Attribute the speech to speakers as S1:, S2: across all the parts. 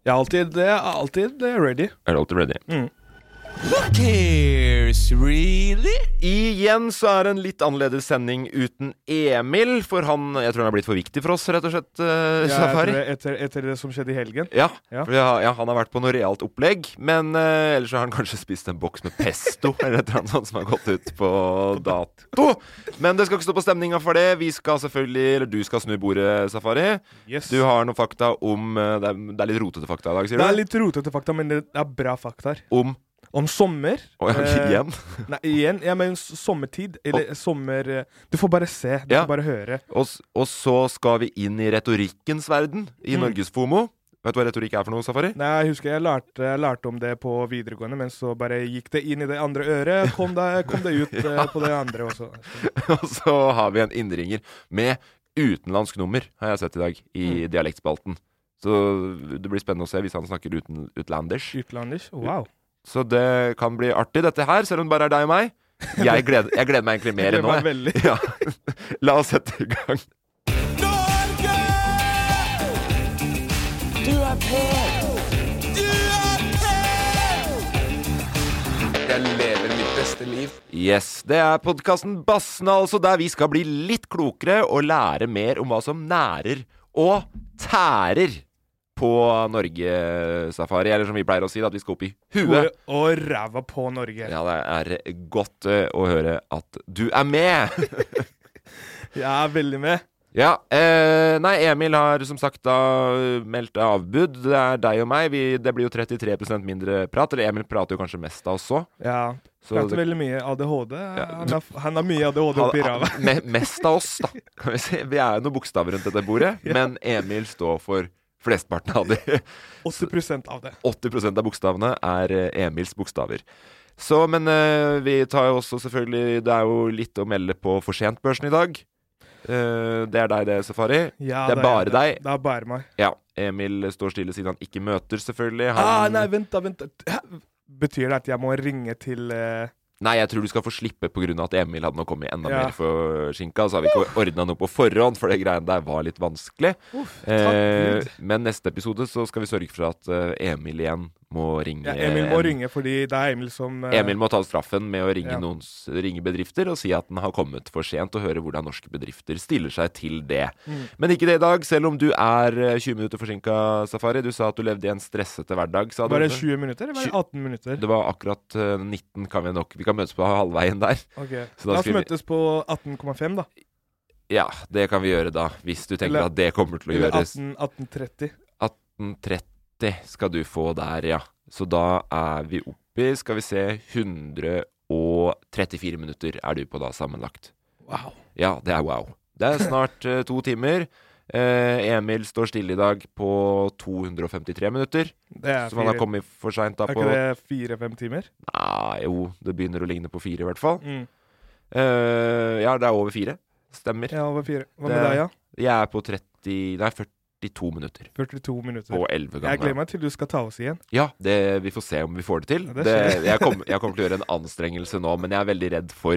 S1: Jeg er alltid, jeg er alltid eh, ready.
S2: Er alltid ready.
S1: Mm.
S3: Who cares, really?
S2: Igjen så er det en litt annerledes sending uten Emil, for han Jeg tror han er blitt for viktig for oss, rett og slett,
S1: Jeg
S2: eh,
S1: er-
S2: Safari.
S1: etter, etter det som skjedde i helgen.
S2: Ja,
S1: Ja.
S2: for ja, ja, han har vært på noe realt opplegg, men eh, ellers har han kanskje spist en boks med pesto, eller et eller annet sånt som har gått ut på dato. Men det skal ikke stå på stemninga for det. Vi skal selvfølgelig, eller du skal snu bordet, Safari.
S1: Yes.
S2: Du har noen fakta om eh, Det er, det er litt rotete fakta i dag, sier
S1: Det er
S2: du?
S1: litt rotete fakta, men det er bra faktaer.
S2: Om
S1: Om sommer
S2: Å, ja,
S1: eh,
S2: igjen?
S1: Nei, igjen. Jeg mener s- sommertid. Eller sommer eh, Du får bare se. Du
S2: Ja.
S1: får bare høre.
S2: Og, s- og så skal vi inn i retorikkens verden, i
S1: Mm.
S2: Norges FOMO. Vet du hva retorikk er for noe, Safari?
S1: Nei, Jeg husker jeg lærte, jeg lærte om det på videregående, men så bare gikk det inn i det andre øret. Kom det, kom det ut eh, på det andre også.
S2: Og så har vi en innringer med utenlandsk nummer, har jeg sett i dag, i dialektspalten. Så det blir spennende å se hvis han snakker uten, utlanders.
S1: Utlanders. Wow.
S2: Så det kan bli artig, dette her, selv om det bare er deg og meg. Jeg gleder, jeg gleder meg egentlig
S1: Jeg
S2: mer enn nå.
S1: gleder meg
S2: jeg. Ja. La oss sette i gang.
S3: Norge! Du er pen! Du er pen! Jeg lever mitt beste liv.
S2: Yes, det er podkasten Bassene, altså, der vi skal bli litt klokere og lære mer om hva som nærer og tærer på Norge-safari. Eller som vi pleier å si, da, at vi skal opp i huet.
S1: Ordet Og ræva på Norge.
S2: E. Ja, det er godt eh, å høre at du er med.
S1: Jeg er veldig med.
S2: ja. Eh, nei, Emil har som sagt da eh, meldt avbud. Det er deg og meg. Vi, det blir jo 33 mindre prat. Eller Emil prater jo kanskje mest av oss òg.
S1: Ja.
S2: Så
S1: Prater
S2: det-
S1: veldig mye ADHD.
S2: Ja.
S1: Han har, han har mye ADHD oppi ræva.
S2: me, mest av oss, da. Kan vi, si. vi er jo noen bokstaver rundt dette bordet, men Emil står for flesteparten av de.
S1: 80 av det.
S2: 80 av bokstavene er eh, Emils bokstaver. Så, men eh, vi tar jo også selvfølgelig Det er jo litt å melde på for sent-børsen i dag. Eh, det er deg, det, Safari.
S1: Ja,
S2: det er bare
S1: jeg.
S2: deg.
S1: Det er bare meg.
S2: Ja. Emil står stille siden han ikke møter, selvfølgelig. Han,
S1: Ah, nei, vent, da. Vent. da. Hæ? Betyr det at jeg må ringe til eh,
S2: Nei, jeg tror du skal få slippe pga. at Emil hadde nå kommet enda
S1: Ja.
S2: mer for skinka. Så har vi ikke ordna noe på forhånd, for det greiene der var litt vanskelig. Eh, men neste episode så skal vi sørge for at eh, Emil igjen må ringe.
S1: ja, Emil må
S2: en-
S1: ringe, fordi det er Emil som eh,
S2: Emil må ta straffen med å ringe,
S1: Ja.
S2: noen, s- ringe bedrifter og si at den har kommet for sent, og høre hvordan norske bedrifter stiller seg til det.
S1: Mm.
S2: Men ikke det i dag, selv om du er eh, 20 minutter forsinka, Safari. Du sa at du levde i en stressete hverdag, sa du.
S1: Var det
S2: også.
S1: 20 minutter, eller var det 18 minutter?
S2: Det var akkurat eh, 19, kan vi nok. Vi kan møtes på halvveien der.
S1: Ok,
S2: Så da
S1: La oss
S2: skal vi-
S1: møtes på 18,5, da.
S2: Ja, det kan vi gjøre da, hvis du tenker
S1: Eller-
S2: at det kommer til å
S1: Eller
S2: gjøres.
S1: 18, 18.30.
S2: 1830 skal du få der, ja. Så da er vi oppi, skal vi se, 134 minutter er du på da sammenlagt.
S1: Wow.
S2: Ja, det er wow. Det er snart eh, to timer. Eh, Emil står stille i dag på 253 minutter,
S1: Det er,
S2: som han har
S1: fire.
S2: kommet for seint da
S1: er
S2: på
S1: ikke det fire-fem timer?
S2: Nei, jo, det begynner å ligne på fire i hvert fall.
S1: Mm.
S2: Eh, ja, det er over fire. Stemmer.
S1: Ja, over fire. Hva med
S2: Det-
S1: deg, ja?
S2: Jeg er på 30 Nei, 42 minutter.
S1: 42 minutter.
S2: På
S1: Jeg
S2: 11
S1: gleder
S2: ganger.
S1: meg til du skal ta oss igjen.
S2: Ja, det, vi får se om vi får det til.
S1: Ja, det
S2: det
S1: skjer.
S2: jeg, kom, jeg kommer til å gjøre en anstrengelse nå, men jeg er veldig redd for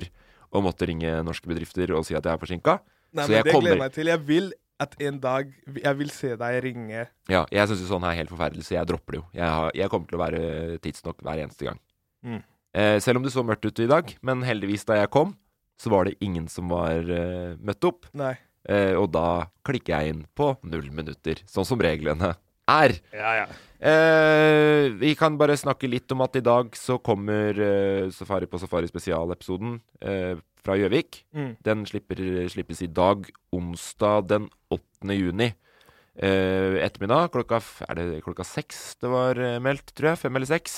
S2: å måtte ringe norske bedrifter og si at jeg er forsinka.
S1: Nei, men
S2: Så
S1: det
S2: jeg
S1: gleder
S2: kommer-
S1: jeg meg til. Jeg vil at en dag Jeg vil se deg ringe.
S2: Ja, jeg syns jo sånn her er helt forferdelig, så jeg dropper det jo. Jeg, har, jeg kommer til å være tidsnok hver eneste gang.
S1: Mm.
S2: Eh, selv om det så mørkt ut i dag, men heldigvis da jeg kom, så var det ingen som var eh, møtt opp.
S1: Nei.
S2: Eh, og da klikker jeg inn på null minutter, sånn som reglene er.
S4: Ja, ja.
S2: Eh, vi kan bare snakke litt om at i dag så kommer eh, Safari på Safari spesialepisoden eh, fra Gjøvik.
S1: Mm.
S2: Den slipper, slippes i dag, onsdag den 8. juni. Eh, ettermiddag klokka, f- er det klokka seks det var eh, meldt, tror jeg. Fem eller seks.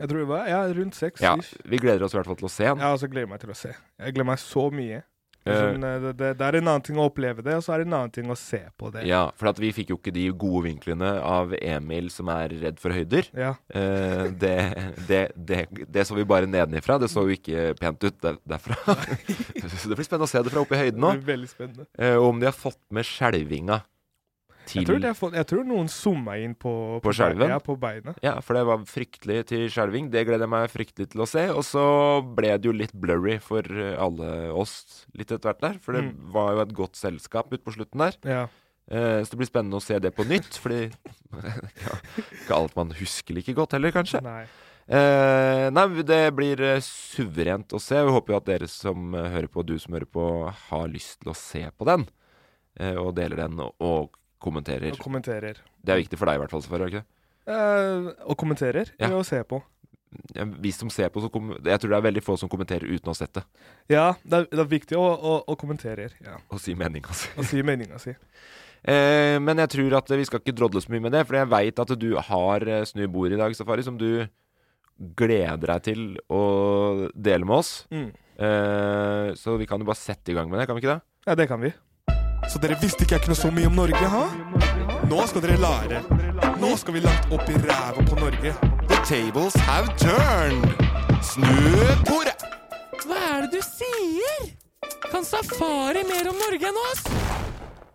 S1: Jeg tror det var Ja, rundt seks.
S2: Ja,
S1: ish.
S2: vi gleder oss i hvert fall til å se den.
S1: Jeg også gleder meg til å se. Jeg gleder meg så mye. Det er
S2: Eh,
S1: Sånn, eh, det, det, det er en annen ting å oppleve det, og så er det en annen ting å se på det.
S2: Eh, ja, for at vi fikk jo ikke de gode vinklene av Emil som er redd for høyder.
S1: Ja.
S2: Eh, det, det, det, det så vi bare nedenifra. Det så jo ikke pent ut der, derfra. så det blir spennende å se det fra oppe i høyden nå.
S1: Det blir veldig spennende.
S2: Eh, og om de har fått med skjelvinga til
S1: Jeg tror, det er fått, jeg tror noen zooma inn på
S2: På skjelven?
S1: Ja, på beinet.
S2: Ja, for det var fryktelig til skjelving. Det gleder jeg meg fryktelig til å se. Og så ble det jo litt blurry for eh, alle oss litt etter hvert der. For det
S1: Mm.
S2: var jo et godt selskap ut på slutten der.
S1: Ja.
S2: Eh, så det blir spennende å se det på nytt. Fordi ja, ikke alt man husker like godt heller, kanskje.
S1: Nei.
S2: Eh, nei, men det blir eh, suverent å se. Vi håper jo at dere som eh, hører på, og du som hører på, har lyst til å se på den. eh, og deler den og, og kommenterer.
S1: Og kommenterer.
S2: Det er viktig for deg i hvert fall, Safari. er det ikke det?
S1: Eh, og kommenterer
S2: Ja.
S1: ved å se på.
S2: Ja, Vi som ser på, så kom, jeg tror det er veldig få som kommenterer uten å ha sett det.
S1: Ja, det er, det er viktig å, å, å kommentere. Ja.
S2: Og si meninga si.
S1: Og si meninga si.
S2: Eh, men jeg tror at vi skal ikke drodle så mye med det, for jeg veit at du har eh, snø i bordet i dag, Safari, som du gleder deg til å dele med oss.
S1: Mm.
S2: Eh, så vi kan jo bare sette i gang med det, kan vi ikke det?
S1: Ja, det kan vi.
S5: Så dere visste ikke jeg kunne så mye om Norge, ha? Nå skal dere lære. Nå skal vi langt opp i ræva på Norge. The tables have turned. Snu bordet.
S6: Hva er det du sier? Kan safari mer om Norge enn oss?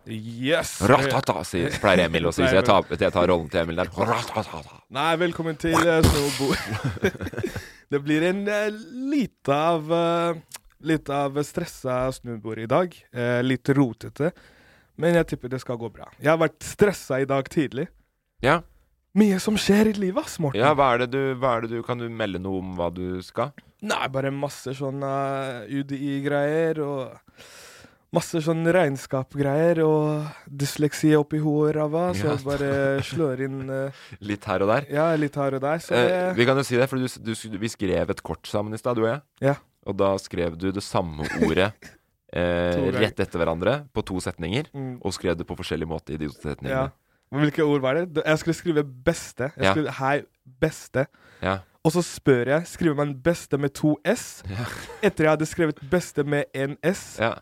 S1: Yes!
S2: Ratata, sier, pleier Emil å si, så jeg tar, jeg tar rollen til Emil der. Ratata.
S1: Nei, velkommen til eh, Snowboard. det blir en eh, lite av eh, Litt av stressa snowboard i dag. Eh, litt rotete. Men jeg tipper det skal gå bra. Jeg har vært stressa i dag tidlig.
S2: Ja,
S1: Mye som skjer i livet, ass, Morten.
S2: ja hva, er det du, hva er det du Kan du melde noe om hva du skal?
S1: Nei, bare masse sånn eh, UDI-greier og Masse sånn regnskap-greier og dysleksi oppi hodet, ræva, så
S2: Ja.
S1: jeg bare slår inn eh,
S2: Litt her og der.
S1: Ja, litt her og der, så
S2: Eh,
S1: det
S2: vi kan jo si det, for du, du, vi skrev et kort sammen i stad, du og jeg.
S1: Ja.
S2: Og da skrev du det samme ordet eh,
S1: To ganger.
S2: rett etter hverandre på to setninger.
S1: mm,
S2: Og skrev det på forskjellig måte i de to
S1: ja.
S2: setningene.
S1: Men Hvilke ord var det? Da- Jeg skulle skrive 'beste'. Jeg
S2: Ja.
S1: skrev 'hei, beste'.
S2: Ja.
S1: Og så spør jeg skriver man 'beste' med to s,
S2: Ja.
S1: etter jeg hadde skrevet 'beste' med en s.
S2: Ja.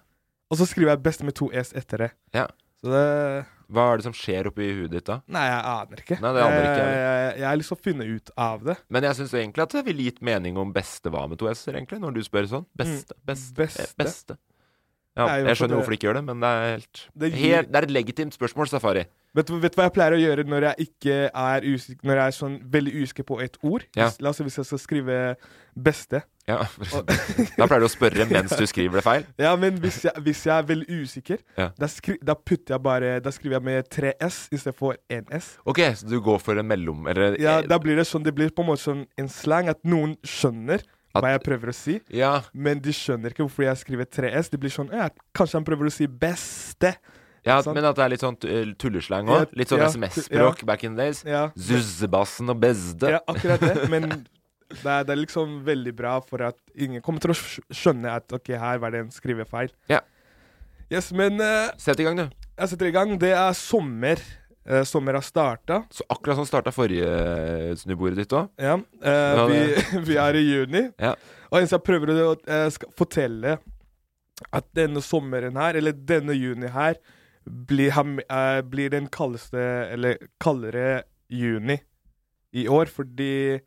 S1: Og så skriver jeg 'beste' med to s etter det.
S2: Ja.
S1: Så det
S2: Hva er det som skjer oppi huet ditt da?
S1: Nei, jeg aner ikke.
S2: Nei, det aner ikke jeg
S1: jeg, jeg, jeg har lyst til å finne ut av det.
S2: Men jeg syns egentlig at det ville gitt mening om beste hva med to s-er, egentlig, når du spør sånn. Beste,
S1: Mm.
S2: beste,
S1: Beste.
S2: eh, beste. Ja,
S1: Nei,
S2: jeg
S1: hvorfor
S2: skjønner
S1: det-
S2: hvorfor de ikke gjør det, men det er helt
S1: Det gir-
S2: helt, Det er et legitimt spørsmål, Safari.
S1: Vet du, vet du hva jeg pleier å gjøre når jeg ikke er usikker Når jeg er sånn veldig usikker på et ord?
S2: Ja.
S1: Hvis- La oss si hvis jeg skal skrive 'beste'.
S2: Ja, for eksempel. Da pleier du å spørre mens du skriver det feil.
S1: Ja, men hvis jeg, hvis jeg er veldig usikker,
S2: Ja.
S1: da, skri, da putter jeg bare Da skriver jeg med tre s istedenfor én s.
S2: Ok, så du går for en mellom... Eller eh,
S1: Ja, da blir det sånn Det blir på en måte sånn en slang at noen skjønner
S2: At-
S1: hva jeg prøver å si.
S2: ja,
S1: Men de skjønner ikke hvorfor jeg skriver 3S. De blir sånn ja, Kanskje han prøver å si 'beste'.
S2: ja,
S1: sant.
S2: men at det er litt sånn eh, tulleslang
S1: Ja,
S2: òg. Litt sånn
S1: ja,
S2: SMS-språk back in the days.
S1: Ja.
S2: Zuzzebassen og Bezde.
S1: Ja, akkurat det. Men det er, det er liksom veldig bra for at ingen kommer til å skj- skjønne at ok, her var det en skrivefeil.
S2: Ja.
S1: Yes, men eh,
S2: Sett i gang, du.
S1: jeg setter i gang. Det er sommer. Eh, sommer har starta.
S2: Så akkurat sånn starta forrige eh, snubbordet ditt òg.
S1: Ja. eh,
S2: Ja, det-
S1: vi, vi er i juni.
S2: Ja.
S1: Og mens jeg prøver å eh, skal fortelle at denne sommeren her, eller denne juni her, blir, ham- eh, blir den kaldeste, eller kaldere juni i år, fordi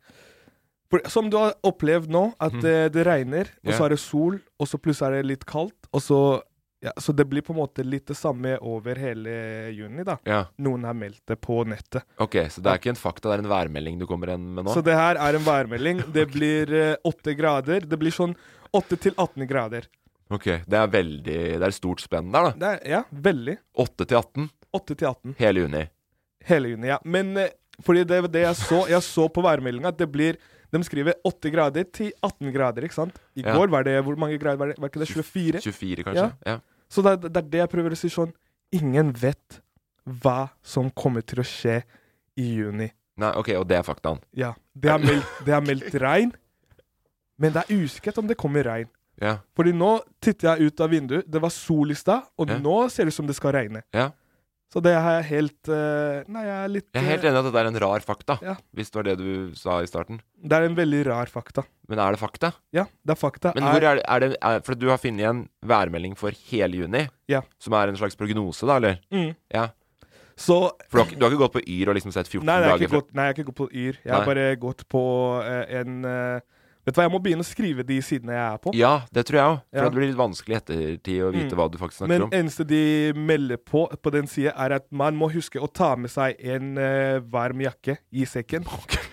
S1: for, Som du har opplevd nå, at
S2: Mhm.
S1: eh, det regner, og
S2: Ja.
S1: så er det sol, og så plutselig er det litt kaldt, og så Ja, så det blir på en måte litt det samme over hele juni, da.
S2: Ja.
S1: Noen har meldt det på nettet.
S2: Ok, så det er ikke en fakta, det er en værmelding du kommer igjen med nå?
S1: Så det her er en værmelding. Det blir eh, åtte grader. Det blir sånn 8 til 18 grader.
S2: Ok, det er veldig Det er et stort spenn der, da.
S1: Det er, ja, veldig.
S2: 8 til 18
S1: 8 til 18.
S2: hele juni.
S1: Hele juni, ja. Men eh, fordi det var det jeg så. Jeg så på værmeldinga at det blir De skriver 8 grader til 18 grader, ikke sant? I
S2: Ja.
S1: går var det Hvor mange grader var det? Var ikke det 24?
S2: 24, kanskje? Ja.
S1: Så det, er- det er det jeg prøver å si sånn. Ingen vet hva som kommer til å skje i juni.
S2: Nei, ok, og det er faktaen.
S1: Ja. Det er meldt, det er meldt regn, men det er usikkert om det kommer regn.
S2: Ja.
S1: Fordi nå titter jeg ut av vinduet, det var sol i stad, og
S2: Ja.
S1: nå ser det ut som det skal regne.
S2: ja.
S1: Så det er helt eh, Nei, jeg er litt
S2: Jeg er helt
S1: eh,
S2: enig i at dette er en rar fakta,
S1: Ja.
S2: hvis det var det du sa i starten.
S1: Det er en veldig rar fakta.
S2: Men er det fakta?
S1: Ja, det er fakta.
S2: Men hvor er det, er det er, For du har funnet en værmelding for hele juni,
S1: Ja.
S2: som er en slags prognose, da, eller?
S1: Mm.
S2: Ja.
S1: Så
S2: For du har, ikke- du har ikke gått på Yr og liksom sett 14
S1: Nei, jeg har
S2: dager
S1: ikke gått, nei, jeg har ikke gått på Yr. Jeg har
S2: Nei.
S1: bare gått på eh, en eh, Vet du hva, jeg må begynne å skrive de sidene jeg er på.
S2: Ja, det tror jeg òg. For
S1: Ja.
S2: det blir litt vanskelig i ettertid å vite
S1: Mm.
S2: hva du faktisk snakker
S1: Men
S2: om.
S1: eneste de melder på på den sida, er at man må huske å ta med seg en eh, varm jakke i sekken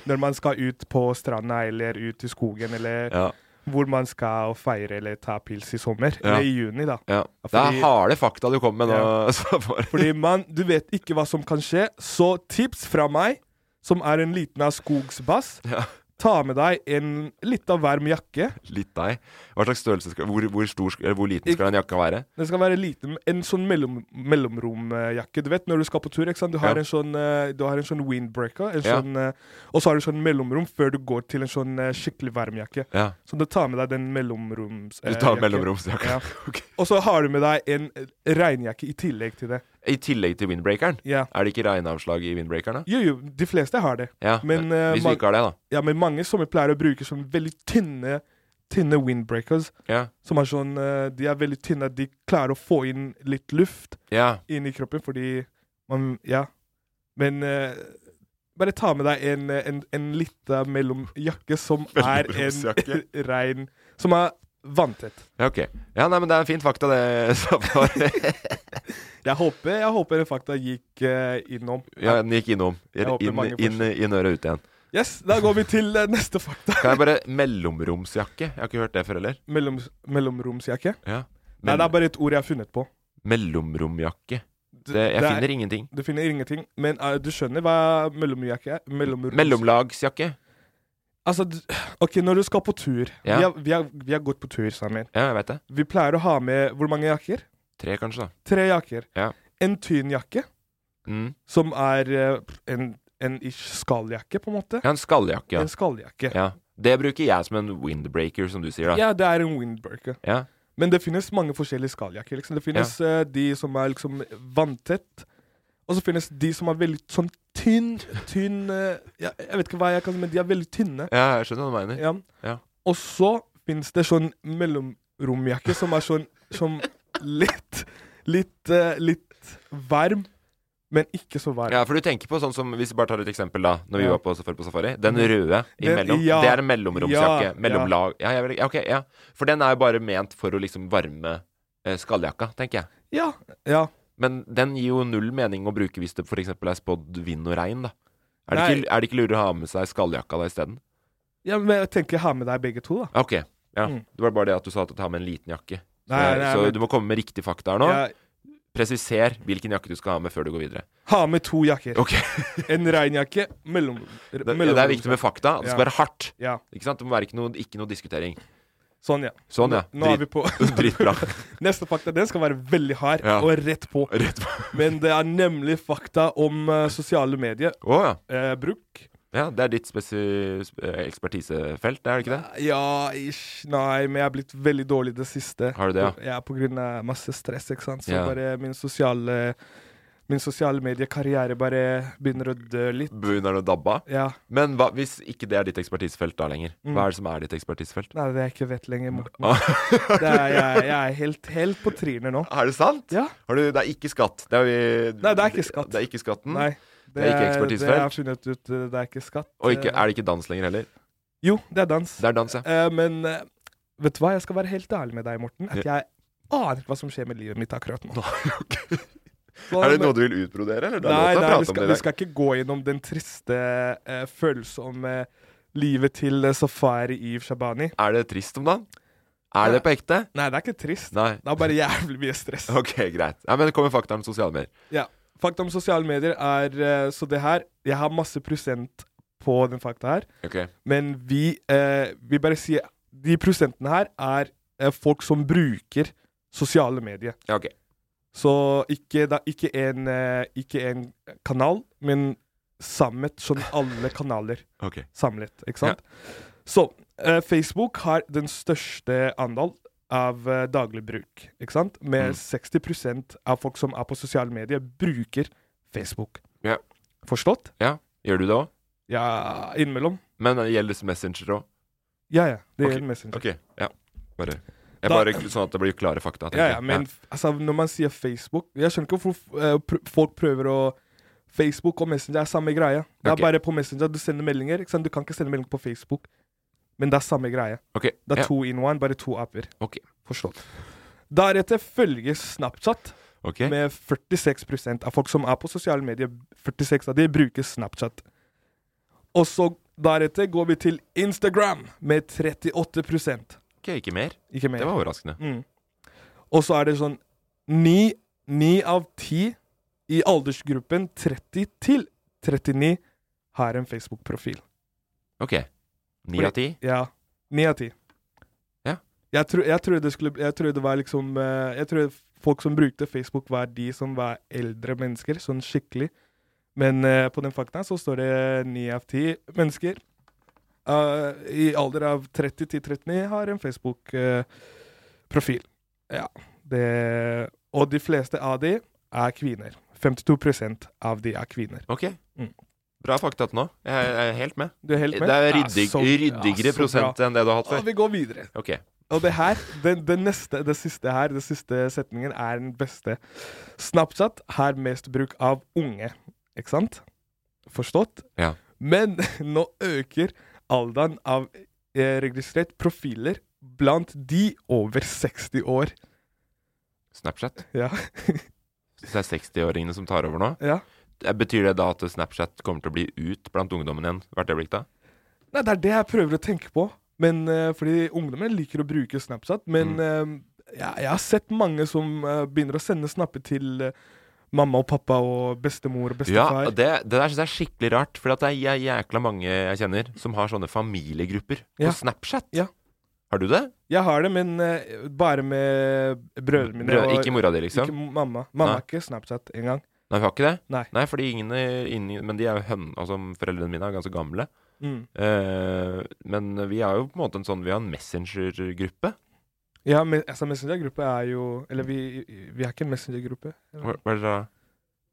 S1: når man skal ut på stranda eller ut i skogen eller
S2: Ja.
S1: hvor man skal feire eller ta pils i sommer.
S2: Ja.
S1: Eller i juni, da.
S2: Ja. Det
S1: Fordi-
S2: er harde fakta du kommer med nå. Safar.
S1: Fordi man, du vet ikke hva som kan skje. Så tips fra meg, som er en liten av skogsbass,
S2: Ja.
S1: ta med deg en litt av varm jakke.
S2: Litt deg. Hva slags størrelse skal Hvor, hvor, stor, skal- eller hvor liten skal den jakka være?
S1: Den skal være liten, en sånn mellom, mellomromjakke. Du vet når du skal på tur, ikke sant? Du har,
S2: Ja.
S1: en, sånn, eh, du har en sånn windbreaker, en
S2: Ja.
S1: sånn, eh, og så har du sånn mellomrom før du går til en sånn eh, skikkelig varm jakke.
S2: Ja.
S1: Så du tar med deg den mellomroms...
S2: Du
S1: eh,
S2: tar
S1: jakke.
S2: mellomromsjakka.
S1: Ja.
S2: Ok.
S1: Og så har du med deg en eh, regnjakke i tillegg til det.
S2: I tillegg til windbreakeren?
S1: Ja.
S2: Er det ikke regnavslag i windbreakeren, da?
S1: Jo, jo, de fleste har det.
S2: Ja.
S1: Men, eh,
S2: Hvis
S1: man-
S2: vi ikke har det, da.
S1: Ja, men mange som pleier å bruke sånn veldig tynne, tynne windbreakers,
S2: Ja.
S1: som er sånn eh, De er veldig tynne, de klarer å få inn litt luft
S2: ja.
S1: inn i kroppen fordi man Ja. Men eh, bare ta med deg en, en, en lita mellomjakke som er en
S2: Mellomromsjakke.
S1: rein Som er vanntett.
S2: Ja, ok. Ja, nei, men det er en fin fakta, det, Safar.
S1: Jeg håper, jeg håper den fakta gikk eh, innom.
S2: ja, den gikk innom.
S1: Jeg håper
S2: Inn,
S1: mange får
S2: inn, inn øret, ut igjen.
S1: Yes, da går vi til eh, neste fakta.
S2: Kan jeg bare Mellomromsjakke? Jeg har ikke hørt det før heller.
S1: Mellom, mellomromsjakke?
S2: Ja.
S1: Nei,
S2: Men,
S1: det er bare et ord jeg har funnet på.
S2: Mellomromjakke.
S1: Det-
S2: Det, jeg
S1: det er-
S2: finner ingenting.
S1: Du finner ingenting, men eh, du skjønner hva mellomjakke er? Mellomroms-
S2: Mellomlagsjakke.
S1: Altså, du, OK, når du skal på tur
S2: Ja.
S1: vi, har, vi, har, vi har gått på tur sammen.
S2: Ja, jeg veit det.
S1: Vi pleier å ha med hvor mange jakker?
S2: Tre, kanskje, da.
S1: Tre jakker.
S2: Ja.
S1: En tynn jakke,
S2: Mm.
S1: som er eh, en, en ish skalljakke, på en måte.
S2: Ja, en skalljakke. Ja.
S1: En skalljakke.
S2: Ja. Det bruker jeg som en windbreaker, som du sier, da.
S1: Ja, det er en windbreaker.
S2: Ja.
S1: Men det finnes mange forskjellige skalljakker. Liksom. Det finnes eh, de som er liksom vanntett, og så finnes de som er veldig sånn tynn, tynn eh, ja, Jeg vet ikke hva jeg kan si, men de er veldig tynne.
S2: ja, jeg skjønner hva du mener.
S1: Ja.
S2: Ja.
S1: Og så finnes det sånn mellomromjakke som er sånn som litt Litt, eh, litt varm, men ikke så varm.
S2: Ja, for du tenker på sånn som Hvis vi bare tar et eksempel, da. Når vi
S1: Ja.
S2: var på safari, på safari den røde imellom.
S1: ja.
S2: Det er en mellomromsjakke.
S1: Ja,
S2: mellomlag. Ja, jeg vil, ja, ok, ja. For den er jo bare ment for å liksom varme eh, skalljakka, tenker jeg.
S1: Ja. ja.
S2: Men den gir jo null mening å bruke hvis det f.eks. er spådd vind og regn, da. Er det,
S1: Nei.
S2: ikke, er det ikke lurere å ha med seg skalljakka da isteden?
S1: Ja, men jeg tenker jeg har med deg begge to, da.
S2: Ok. Ja.
S1: Mm.
S2: Det var bare det at du sa at du tar med en liten jakke. Så,
S1: Nei, nei,
S2: så
S1: men-
S2: du må komme med riktig fakta her nå.
S1: Jeg
S2: Presiser hvilken jakke du skal ha med før du går videre.
S1: har med to jakker.
S2: Ok,
S1: En regnjakke, mellom...
S2: Det, ja, det er viktig med fakta. Det skal
S1: Ja.
S2: være hardt.
S1: Ja,
S2: Ikke sant? Det må være ikke noe, ikke noe diskutering.
S1: sånn, ja.
S2: Sånn, ja.
S1: Nå er vi
S2: Drit,
S1: på
S2: dritbra.
S1: Neste fakta. Den skal være veldig hard
S2: Ja.
S1: og rett på.
S2: Rett på.
S1: Men det er nemlig fakta om eh, sosiale medier.
S2: Å ja.
S1: Eh, bruk.
S2: ja. Det er ditt spesi sp- eh, ekspertisefelt, er det ikke det?
S1: Ja, ish. Nei, men jeg er blitt veldig dårlig i det siste.
S2: Har du det, ja?
S1: Ja, på grunn av masse stress, ikke sant. Så
S2: Ja.
S1: bare min sosiale Min sosiale mediekarriere bare begynner å dø litt.
S2: Begynner det å dabbe av?
S1: Ja.
S2: Men hva, hvis ikke det er ditt ekspertisefelt da lenger,
S1: Mm.
S2: hva er det som er ditt ekspertisefelt?
S1: Nei, det er jeg ikke vet lenger. Morten. Mm. Det er, jeg, jeg er helt, helt på trynet nå.
S2: Er det sant?
S1: Ja.
S2: Har du, det er ikke skatt. Det er, vi,
S1: Nei, det er ikke skatt.
S2: Det er ikke skatten.
S1: Nei.
S2: Mm.
S1: Det
S2: Det er ikke
S1: jeg har
S2: ekspertisefelt.
S1: funnet ut, eh, det er ikke skatt.
S2: Og ikke,
S1: Eh,
S2: er det ikke dans lenger heller?
S1: Jo, det er dans.
S2: Det er dans, ja.
S1: Eh, men eh, vet du hva, jeg skal være helt ærlig med deg, Morten. At jeg aner ikke hva som skjer med livet mitt akkurat nå. Så,
S2: Er det
S1: men-
S2: noe du vil utbrodere, eller? Du har
S1: Nei,
S2: lov til å
S1: nei vi,
S2: prate om
S1: skal,
S2: det i
S1: vi
S2: dag.
S1: skal ikke gå gjennom den triste, eh, følsomme livet til eh, Safari Eve Shabani.
S2: Er det trist om dagen? Er det på ekte?
S1: Nei, det er ikke trist.
S2: Nei.
S1: Det er bare jævlig mye stress.
S2: Ok, greit. Nei, men det kommer fakta om sosiale medier.
S1: Ja. Fakta om sosiale medier er eh, Så det her Jeg har masse prosent på den fakta her,
S2: Ok.
S1: men vi eh, vil bare si De prosentene her er eh, folk som bruker sosiale medier.
S2: Ja, ok.
S1: Så ikke, da, ikke, en, eh, ikke en kanal, men samlet som alle kanaler
S2: Ok.
S1: samlet, ikke sant? Så eh, Facebook har den største andal av eh, daglig bruk, ikke sant?
S2: Mm.
S1: Med 60 av folk som er på sosiale medier, bruker Facebook.
S2: Ja.
S1: Forstått?
S2: ja. Gjør du det òg?
S1: Ja, innimellom.
S2: Men det gjelder Messenger òg?
S1: Ja, ja. Det
S2: Ok,
S1: gjelder Messenger.
S2: Ok, ja. Bare jeg
S1: Da-
S2: bare kl- Sånn at det blir klare fakta. tenker
S1: Ja, ja,
S2: jeg.
S1: men f- altså, når man sier Facebook Jeg skjønner ikke hvorfor eh, pr folk prøver å Facebook og Messenger er samme greie. Det er
S2: Ok.
S1: bare på Messenger du sender meldinger. ikke sant? Du kan ikke sende melding på Facebook, men det er samme greie.
S2: Ok,
S1: Det er
S2: ja.
S1: to in one, bare to apper.
S2: Ok.
S1: Forstått. Deretter følger Snapchat
S2: Ok.
S1: med 46 av folk som er på sosiale medier. 46 av de bruker Snapchat. Og så deretter går vi til Instagram med 38
S2: ok, ikke mer?
S1: Ikke mer.
S2: Det var overraskende.
S1: Mm. Og så er det sånn Ni, ni av ti i aldersgruppen 30 til 39 har en Facebook-profil.
S2: Ok. Ni av ti?
S1: Ja. Ni av ti.
S2: Ja.
S1: Jeg, tro, jeg, trodde det skulle, jeg trodde det var liksom eh, Jeg trodde folk som brukte Facebook, var de som var eldre mennesker, sånn skikkelig. Men eh, på den fakta så står det ni av ti mennesker eh, i alder av 30 til 39 har en Facebook-profil. ja. Det, og de fleste av de er kvinner. 52 av de er kvinner.
S2: Ok.
S1: Mm.
S2: Bra fakta til nå. Jeg er jeg er helt med.
S1: Du er helt med?
S2: Det er
S1: Ja,
S2: ryddig,
S1: så-
S2: ryddigere
S1: ja, så
S2: prosent altså.
S1: bra.
S2: enn det du har hatt
S1: Og
S2: før.
S1: vi går videre.
S2: Ok.
S1: Og det her, den, den neste, det siste her, den siste setningen er den beste. Snapchat har mest bruk av unge, ikke sant? Forstått?
S2: Ja.
S1: Men nå øker alderen av eh, registrert profiler blant de over 60 år.
S2: Snapchat.
S1: Ja.
S2: Så det er 60-åringene som tar over nå?
S1: ja.
S2: Eh, Betyr det da at Snapchat kommer til å bli ut blant ungdommen igjen hvert øyeblikk da?
S1: Nei, det er det jeg prøver å tenke på. Men, eh, fordi ungdommen liker å bruke Snapchat. Men
S2: Mm.
S1: eh, ja, jeg har sett mange som eh, begynner å sende snapper til eh, mamma og pappa og bestemor og
S2: Ja,
S1: bestefar.
S2: og det, det der synes jeg er skikkelig rart. For at det er jæ- jækla mange jeg kjenner som har sånne familiegrupper
S1: Ja.
S2: på Snapchat.
S1: Ja.
S2: Har du det?
S1: Jeg har det, men eh, bare med brødrene mine.
S2: Brød,
S1: og-
S2: ikke mora di, liksom?
S1: Ikke mamma. Mamma
S2: Nei.
S1: har ikke Snapchat engang.
S2: Nei, vi har ikke det?
S1: Nei.
S2: fordi ingen, ingen Men de er jo høn... Altså, foreldrene mine er ganske gamle.
S1: Mm.
S2: Eh, men vi har jo på en måte en sånn Vi har en messengergruppe.
S1: Ja, men altså, Messenger-gruppe er jo Eller vi, vi har ikke en Messenger-gruppe.
S2: Hva hva er det da?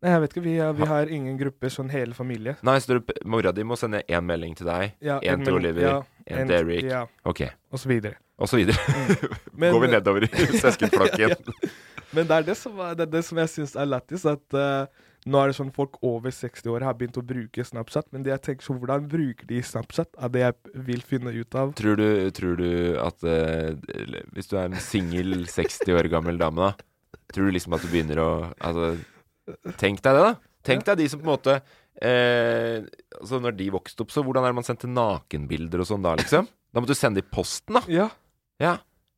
S1: Nei, jeg vet ikke. Vi, har- vi har ingen gruppe, sånn hele familie.
S2: Nei, så du, mora di må sende én melding til deg,
S1: Ja,
S2: én
S1: en
S2: til
S1: melding-
S2: Oliver,
S1: ja,
S2: én
S1: en-
S2: til Eric.
S1: Ja,
S2: Ok.
S1: og så videre.
S2: Og så videre.
S1: Men-
S2: Går vi nedover i søskenflokken.
S1: Ja, Men det er det som, er- det, er det som jeg syns er lættis, at eh, nå er det sånn folk over 60 år har begynt å bruke Snapchat, men det jeg tenker sånn, hvordan bruker de Snapchat, er det jeg vil finne ut av.
S2: Tror du, tror du at eh, eller Hvis du er en singel 60 år gammel dame, da. Tror du liksom at du begynner å Altså, tenk deg det, da. Tenk deg de som på en måte eh, Altså, når de vokste opp, så hvordan er det man sendte nakenbilder og sånn da, liksom? Da måtte du sende det i posten, da.
S1: Ja.
S2: Ja.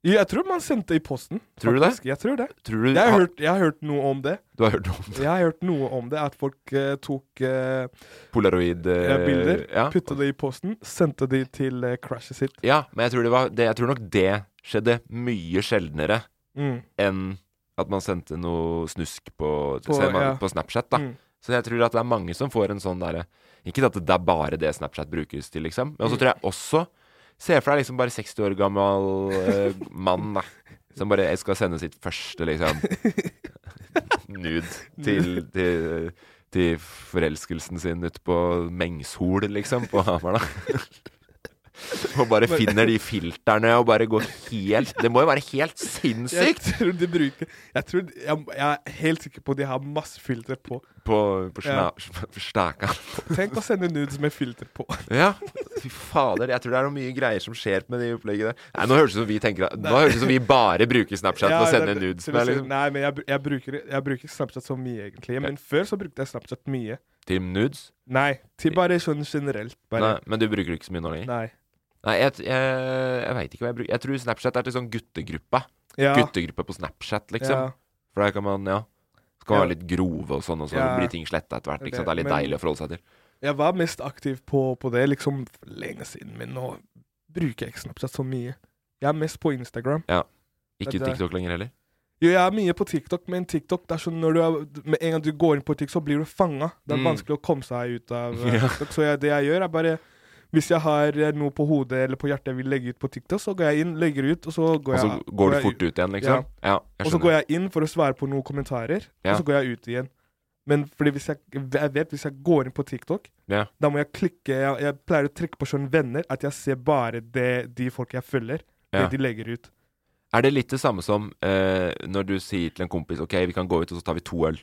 S1: Jo, Jeg tror man sendte i posten.
S2: Tror du det?
S1: faktisk. Jeg tror det.
S2: Tror du
S1: Jeg har,
S2: ha-
S1: hørt, jeg har hørt noe om det.
S2: Du har hørt om det?
S1: Jeg har hørt noe om det, At folk eh, tok eh, eh,
S2: Polaroid-bilder?
S1: bilder, puttet det i posten, sendte de til eh, crashet sitt.
S2: Ja, men jeg tror, det var, det, jeg tror nok det skjedde mye sjeldnere
S1: Mm.
S2: enn at man sendte noe snusk på,
S1: På-
S2: ser man,
S1: ja.
S2: på Snapchat. da.
S1: Mm.
S2: Så jeg tror at det er mange som får en sånn derre Ikke at det er bare det Snapchat brukes til, liksom. Men så tror jeg også Se for deg liksom bare 60 år gammel eh, mann da, som bare jeg skal sende sitt første liksom nude til, til, til forelskelsen sin ute på Mengshol, liksom, på Hamar. da. Og bare finner de filterne og bare går helt Det må jo være helt
S1: Jeg
S2: sinnssykt
S1: tror de bruker Jeg, tror, de- jeg, jeg er helt sikker på at de har masse filter på.
S2: på, på
S1: Ja.
S2: sna, snaka.
S1: Tenk å sende nudes med filter på.
S2: Ja. Fy fader, jeg tror det er noe mye greier som skjer med det opplegget der. Nei, Nå høres det ut som vi tenker at- Nå høres det ut som vi bare bruker Snapchat for å
S1: Ja,
S2: sende
S1: det-
S2: nudes.
S1: til
S2: men
S1: å si-
S2: liksom,
S1: Nei, men jeg, br- jeg, bruker, jeg bruker ikke Snapchat så mye, egentlig. Men før så brukte jeg Snapchat mye.
S2: til nudes?
S1: Nei, til bare sånn generelt.
S2: Nei,
S1: Bare.
S2: men du bruker det ikke så mye nå lenger?
S1: Nei.
S2: Nei, jeg, jeg, jeg veit ikke hva jeg bruker. Jeg tror Snapchat er til sånn guttegruppa.
S1: Ja.
S2: Guttegruppe på Snapchat, liksom.
S1: Ja.
S2: For der kan man, ja Skal
S1: Ja.
S2: være litt grove og sånn, og så
S1: Ja.
S2: blir ting sletta etter hvert.
S1: Det er
S2: Ikke sant? Det er litt
S1: det, men-
S2: deilig å forholde seg til.
S1: Jeg var mest aktiv på, på det liksom for lenge siden, men nå bruker jeg ikke Snapchat så mye. Jeg er mest på Instagram.
S2: Ikke
S1: Det er-
S2: TikTok lenger heller.
S1: Jo, jeg er mye på TikTok, men TikTok det er sånn når du er, med en gang du går inn på TikTok, så blir du fanga. Det er
S2: Mm.
S1: vanskelig å komme seg ut av eh,
S2: Ja.
S1: TikTok. Så jeg, det jeg gjør, er bare Hvis jeg har eh, noe på hodet eller på hjertet jeg vil legge ut på TikTok, så går jeg inn, legger ut, og så går
S2: Og så
S1: jeg
S2: går du
S1: jeg
S2: fort ut igjen, liksom. Ja, jeg
S1: Og så går
S2: skjønner.
S1: jeg inn for å svare på noen kommentarer,
S2: Ja.
S1: og så går jeg ut igjen. Men fordi hvis jeg, jeg vet hvis jeg går inn på TikTok,
S2: Ja.
S1: da må jeg klikke Jeg, jeg pleier å trykke på sånne venner, at jeg ser bare det, de folk jeg følger,
S2: Ja.
S1: det de legger ut.
S2: Er det litt det samme som eh, når du sier til en kompis Ok, vi kan gå ut, og så tar vi to øl.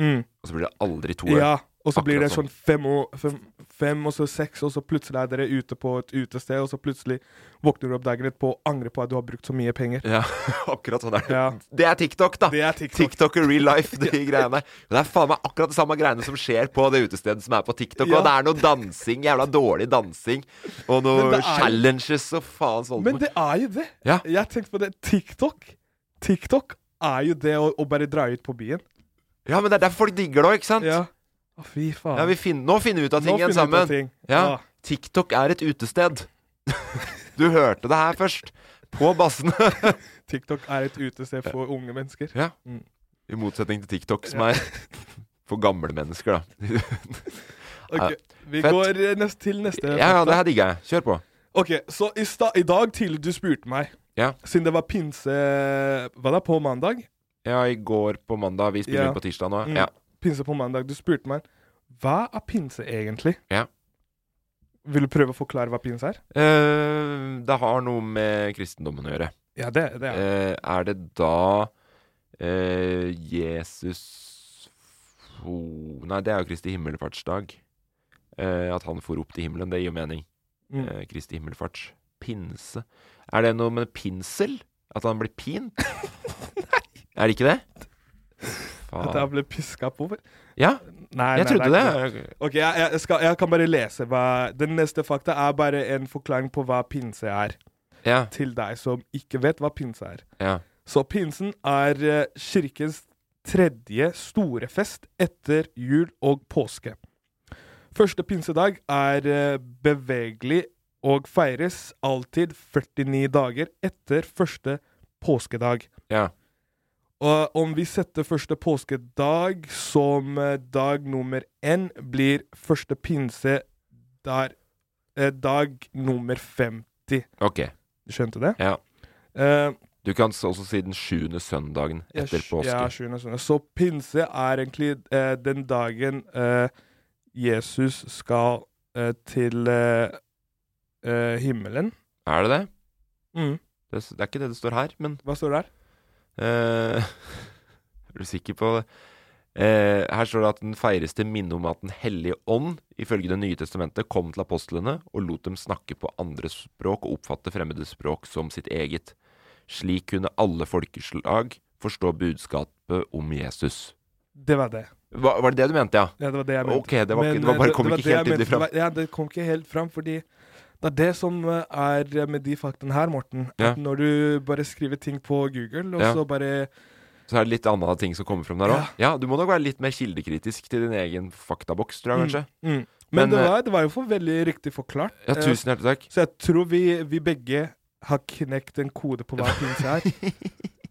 S1: Mm.
S2: Og så blir det aldri to øl.
S1: Ja, og så blir det
S2: Akkurat
S1: sånn fem og, fem, fem og så seks, og så plutselig er dere ute på et utested, og så plutselig våkner du opp dagen etterpå og angrer på at du har brukt så mye penger.
S2: Ja, akkurat sånn er det.
S1: Ja.
S2: Det er TikTok, da!
S1: Det er TikTok.
S2: TikTok og real life, de greiene. Men det er faen meg akkurat det samme greiene som skjer på det utestedet som er på TikTok.
S1: Ja.
S2: Og det er noe dansing, jævla dårlig dansing, og
S1: Men
S2: noe
S1: det er-
S2: challenges og faen sånn.
S1: Men det er jo det.
S2: Ja.
S1: Jeg tenkte på det. TikTok TikTok er jo det å, å bare dra ut på byen.
S2: Ja, men det er derfor folk digger det òg, ikke sant?
S1: Ja. Å, fy faen.
S2: Ja, vi finner, nå finner vi ut av
S1: Nå
S2: ting
S1: finner vi
S2: igjen
S1: ut av
S2: sammen.
S1: ting.
S2: Ja.
S1: Ja.
S2: TikTok er et utested. Du hørte det her først. På bassene.
S1: TikTok er et utested for unge mennesker.
S2: Ja.
S1: Mm.
S2: I motsetning til TikTok, som er for gamle mennesker, da.
S1: Ok, Vi
S2: Fett.
S1: går eh, nest, til neste.
S2: Ja, ja, det her digger jeg. Kjør på.
S1: Ok, så i, sta i dag tidlig du spurte meg,
S2: Ja.
S1: siden det var pinse Hva da, på mandag?
S2: Ja, i går på mandag. Vi spiller
S1: Ja.
S2: inn på tirsdag nå.
S1: Mm.
S2: Ja.
S1: Pinse på mandag. Du spurte meg hva er pinse egentlig?
S2: Ja.
S1: Vil du prøve å forklare hva pinse er?
S2: Eh, det har noe med kristendommen å gjøre.
S1: Ja, det, det er
S2: Eh, er det da eh, Jesus oh, Nei, det er jo Kristi himmelfartsdag. Eh, at han for opp til himmelen, det gir jo mening.
S1: Mm.
S2: Eh, Kristi himmelfarts pinse. Er det noe med pinsel? At han blir pint? Er det ikke det? Faen.
S1: At jeg ble piska på? for-
S2: Ja,
S1: Nei,
S2: jeg
S1: nei, det.
S2: trodde det.
S1: er ikke Ok, jeg, jeg, skal, jeg kan bare lese hva Den neste fakta er bare en forklaring på hva pinse er.
S2: Ja,
S1: Til deg som ikke vet hva pinse er.
S2: ja.
S1: Så pinsen er eh, kirkens tredje store fest etter jul og påske. Første pinsedag er eh, bevegelig og feires alltid 49 dager etter første påskedag.
S2: Ja.
S1: Og om vi setter første påskedag som eh, dag nummer én, blir første pinse der, eh, dag nummer 50.
S2: Ok.
S1: Du skjønte det?
S2: Ja.
S1: Eh,
S2: Du kan s- også si den sjuende søndagen etter
S1: ja,
S2: påske.
S1: Ja, sjuende søndag. Så pinse er egentlig eh, den dagen eh, Jesus skal eh, til eh, eh, himmelen. Mm.
S2: Er det det? det? s- Det er ikke det det står her, men
S1: Hva står det der?
S2: eh, Er du sikker på det? Eh, her står det at den feires til minne om at Den hellige ånd, ifølge Det nye testamentet, kom til apostlene og lot dem snakke på andre språk og oppfatte fremmede språk som sitt eget. Slik kunne alle folkeslag forstå budskapet om Jesus.
S1: Det var det.
S2: Hva, var det det du mente, ja?
S1: Ja, det var det jeg mente.
S2: Ok, det, var ikke,
S1: Men,
S2: det, var
S1: eh,
S2: bare, kom
S1: det var
S2: ikke
S1: det jeg
S2: helt tydelig
S1: mente.
S2: fram.
S1: Det var- Ja, det kom ikke helt fram, fordi det er det som eh, er med de faktaene her, Morten.
S2: Ja.
S1: At når du bare skriver ting på Google, og
S2: Ja.
S1: så bare
S2: Så er det litt andre ting som kommer fram der òg. Ja. du må nok være litt mer kildekritisk til din egen faktaboks, tror jeg kanskje.
S1: mm. Men,
S2: Men,
S1: det,
S2: eh,
S1: var, det var jo for veldig riktig forklart.
S2: Ja,
S1: Eh,
S2: tusen hjertelig takk.
S1: Så jeg tror vi, vi begge har knekt en kode på hva pinse er.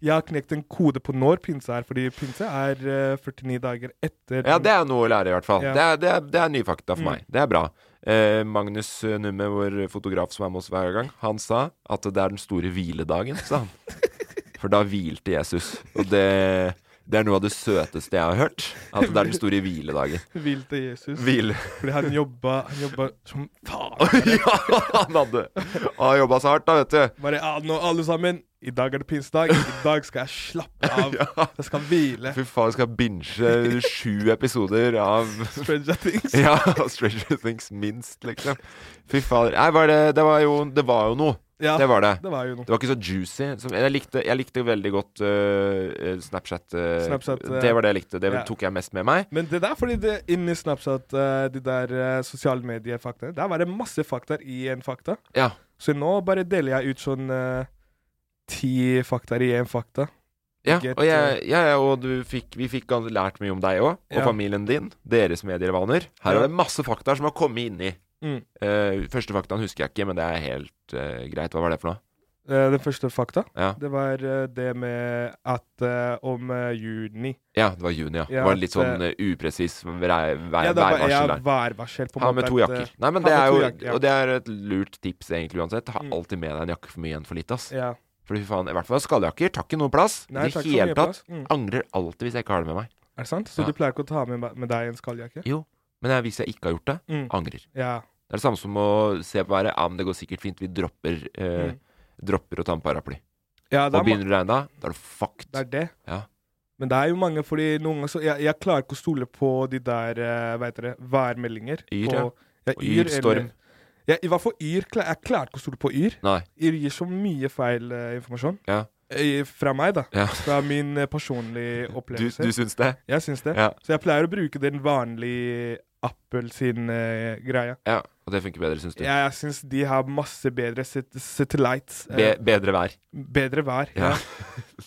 S1: Jeg har knekt en kode på når pinse er, fordi pinse er eh, 49 dager etter
S2: Ja, det er noe å lære, i hvert fall.
S1: Ja.
S2: Det, er, det, er, det er nye fakta for
S1: Mm.
S2: meg. Det er bra. Eh, Magnus eh, Numme, vår fotograf som er med oss hver gang, han sa at det er den store hviledagen, sa han. For da hvilte Jesus. Og det Det er noe av det søteste jeg har hørt. At det er den store hviledagen.
S1: Hvil til Jesus.
S2: Hvile.
S1: Fordi han jobba, han jobba som faen.
S2: ja, han hadde Han jobba så hardt, da, vet du.
S1: Bare ja, nå alle sammen, i dag er det pinsedag. I dag skal jeg slappe av. Jeg skal hvile.
S2: Fy faen, skal binge sju episoder av
S1: Stranger things.
S2: ja, Stranger Things minst, liksom. Fy fader. Nei, var det, det, var jo, det var jo noe.
S1: Ja,
S2: Det var det.
S1: det var jo noe.
S2: Det var ikke så juicy. Som, jeg, likte, jeg likte veldig godt øh, Snapchat. øh,
S1: Snapchat, øh,
S2: det var det jeg likte. Det
S1: ja.
S2: tok jeg mest med meg.
S1: Men det der er fordi det inni Snapchat, eh, de der eh, sosiale medier-faktaene Der var det masse fakta i en fakta.
S2: Ja.
S1: Så nå bare deler jeg ut sånn eh, ti fakta i én fakta.
S2: Ja,
S1: Get, eh,
S2: og, jeg, jeg og du fikk, vi fikk gan- lært mye om deg òg, og
S1: Ja.
S2: familien din. Deres medievaner. Her
S1: Ja.
S2: er det masse fakta som har kommet inni.
S1: Mm.
S2: Eh, første faktaen husker jeg ikke, men det er helt eh, greit. Hva var det for noe?
S1: Eh, den første fakta,
S2: Ja,
S1: det var eh, det med at eh, om eh, juni
S2: ja det var juni, ja.
S1: Ja,
S2: det var litt
S1: at,
S2: sånn eh, upresis vei- vei-
S1: Ja, det var
S2: værvarsel
S1: ja,
S2: der.
S1: værvarsel. på en
S2: Ha
S1: måte
S2: med to
S1: at,
S2: jakker. Nei,
S1: ha
S2: men det
S1: med
S2: er
S1: to
S2: jo
S1: jakker, ja.
S2: Og det er et lurt tips, egentlig, uansett. Ha
S1: Mm.
S2: alltid med deg en jakke for mye enn for lite, ass.
S1: eh, ja.
S2: Fordi fy faen, i hvert fall skalljakker tar ikke noe plass.
S1: Nei,
S2: I det
S1: takk for
S2: hele
S1: mye,
S2: tatt.
S1: Blas. Mm.
S2: Angrer alltid hvis jeg ikke har det med meg.
S1: Er det sant? Så
S2: Ja.
S1: du pleier ikke å ta med, med deg en skalljakke?
S2: Jo, men jeg, hvis jeg ikke har gjort det,
S1: Mm.
S2: angrer.
S1: Ja.
S2: Det er det samme som å se på været. Ja, men det går sikkert fint. Vi dropper, eh,
S1: Mm.
S2: dropper å ta med paraply.
S1: ja
S2: Og
S1: da, må-
S2: begynner det å regne, da er det fucked.
S1: det er det.
S2: Ja.
S1: Men det er jo mange, fordi noen ganger så Jeg, jeg klarer ikke å stole på de der uh, vet dere, værmeldinger.
S2: Yr,
S1: på,
S2: ja.
S1: ja.
S2: Og yr, storm.
S1: eller- Ja, I hvert fall Yr. kla- Jeg klarer ikke å stole på Yr.
S2: Nei.
S1: Yr gir så mye feil eh, informasjon.
S2: Ja.
S1: Eh, fra meg, da.
S2: Ja.
S1: Fra min eh, personlige
S2: Du,
S1: opplevelse.
S2: du syns det?
S1: Jeg syns det.
S2: Ja.
S1: Så jeg pleier å bruke den vanlige Apple sin eh, greia.
S2: Ja. Og det funker bedre, syns du?
S1: Jeg, jeg syns de har masse bedre sat- satellites.
S2: Be
S1: eh,
S2: bedre vær.
S1: bedre vær.
S2: Ja.
S1: Ja.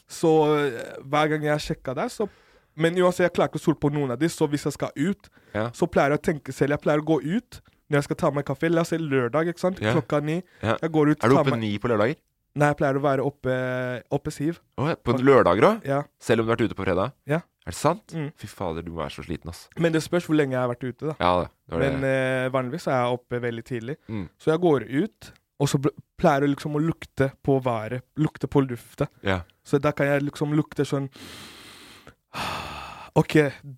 S1: Så eh, hver gang jeg sjekka der, så Men uansett, jeg klarer ikke å stole på noen av de, så hvis jeg skal ut,
S2: Ja.
S1: så pleier jeg å tenke selv. Jeg pleier å gå ut når jeg skal ta meg en kaffe. La oss si lørdag, ikke sant.
S2: Ja.
S1: Klokka ni.
S2: Ja.
S1: Jeg går ut,
S2: Er du
S1: tar
S2: oppe
S1: meg
S2: ni på lørdager?
S1: Nei, jeg pleier å være oppe, oppe siv.
S2: Å, ja, på lørdager òg?
S1: Ja.
S2: Selv om du har vært ute på fredag?
S1: Ja.
S2: Er det sant?
S1: Mm.
S2: Fy fader, du må være så sliten, ass.
S1: Men det spørs hvor lenge jeg har vært ute, da.
S2: Ja, det, det var
S1: Men
S2: det.
S1: eh, vanligvis er jeg oppe veldig tidlig.
S2: Mm.
S1: Så jeg går ut, og så bl- pleier jeg liksom å lukte på været. Lukte på lufta.
S2: Ja.
S1: Så da kan jeg liksom lukte sånn OK,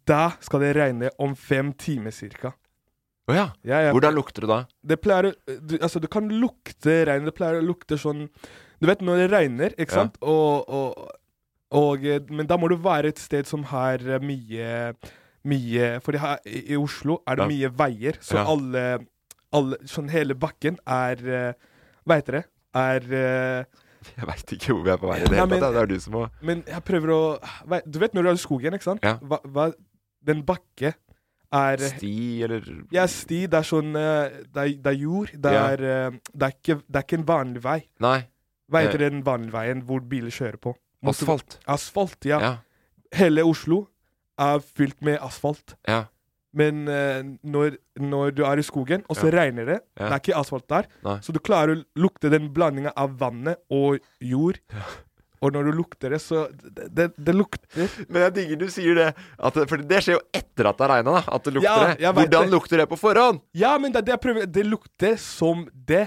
S1: da skal det regne om fem timer cirka.
S2: Å ja.
S1: Ja, ja.
S2: Hvordan lukter det da?
S1: Det pleier å du, Altså, du kan lukte regn. Det pleier å lukte sånn Du vet når det regner, ikke
S2: Ja.
S1: sant? Og, og, og eh, Men da må du være et sted som har eh, mye Mye For her i, i Oslo er det
S2: Ja.
S1: mye veier, så
S2: Ja.
S1: alle, alle Sånn hele bakken er eh, Hva heter det? Er eh,
S2: Jeg veit ikke hvor vi er på vei i det
S1: Nei,
S2: hele
S1: men-
S2: tatt. Det er du som må
S1: Men jeg prøver å hva- Du vet når du er i skogen, ikke sant?
S2: Ja.
S1: Hva, hva, den bakke er
S2: Sti, eller
S1: Ja, sti, det er sånn eh, Det er, det er jord. Det
S2: Ja.
S1: er, eh, det, er ikke, det er ikke en vanlig vei.
S2: Nei.
S1: Hva heter den vanlige veien hvor biler kjører på? Motorve-
S2: Eh. Asfalt.
S1: Asfalt, ja.
S2: Ja.
S1: Hele Oslo er fylt med asfalt.
S2: Ja.
S1: Men eh, når, når du er i skogen, og så regner det
S2: Ja.
S1: Det er ikke asfalt der.
S2: Nei.
S1: Så du klarer å lukte den blandinga av vannet og jord. Og når du lukter det, så Det, det, det lukter
S2: Men jeg digger du sier det. At, det- for det skjer jo etter at det har regna, da. At det lukter
S1: Ja,
S2: det.
S1: jeg vet
S2: Hvordan
S1: det.
S2: lukter det på forhånd?
S1: Ja, men det er det jeg prøver Det lukter som det.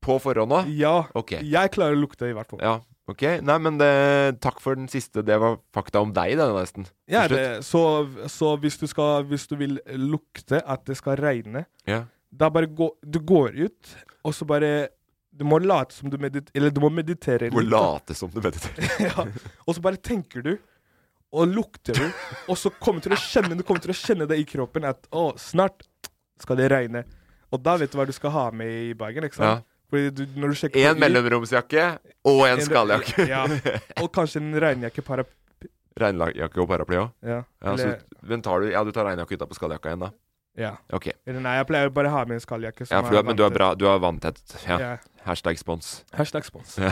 S2: På forhånd òg?
S1: Ja.
S2: Ok.
S1: Jeg klarer å lukte, i hvert fall.
S2: Ja. Ok. Nei, men det, takk for den siste. Det var fakta om deg, det, nesten.
S1: Ja,
S2: Til slutt.
S1: det, så, så hvis, du skal, hvis du vil lukte at det skal regne,
S2: Ja.
S1: da bare gå, du går ut, og så bare Du må late som du mediterer Eller du må meditere.
S2: Du må
S1: litt, da.
S2: late som du mediterer.
S1: ja. Og så bare tenker du, og lukter du, og så kommer du til å kjenne Du kommer til å kjenne det i kroppen at å, snart skal det regne. Og da vet du hva du skal ha med i bagen. ikke sant?
S2: Ja.
S1: Fordi du, når du sjekker
S2: Én
S1: på-
S2: mellomromsjakke og en
S1: en-
S2: skalljakke.
S1: Ja, og kanskje en regnjakke, paraply.
S2: Regnjakke og paraply òg.
S1: Ja,
S2: Ja,
S1: eller,
S2: så- men tar du, ja, du tar regnjakke utapå skalljakka igjen, da.
S1: ja.
S2: Ok.
S1: Eller nei, jeg pleier bare å ha med en skalljakke. som
S2: Ja, for du
S1: er
S2: er, men du er
S1: vanntett.
S2: bra. Du er vanntett. Ja.
S1: Ja.
S2: Hashtag spons.
S1: Hashtag spons.
S2: Ja.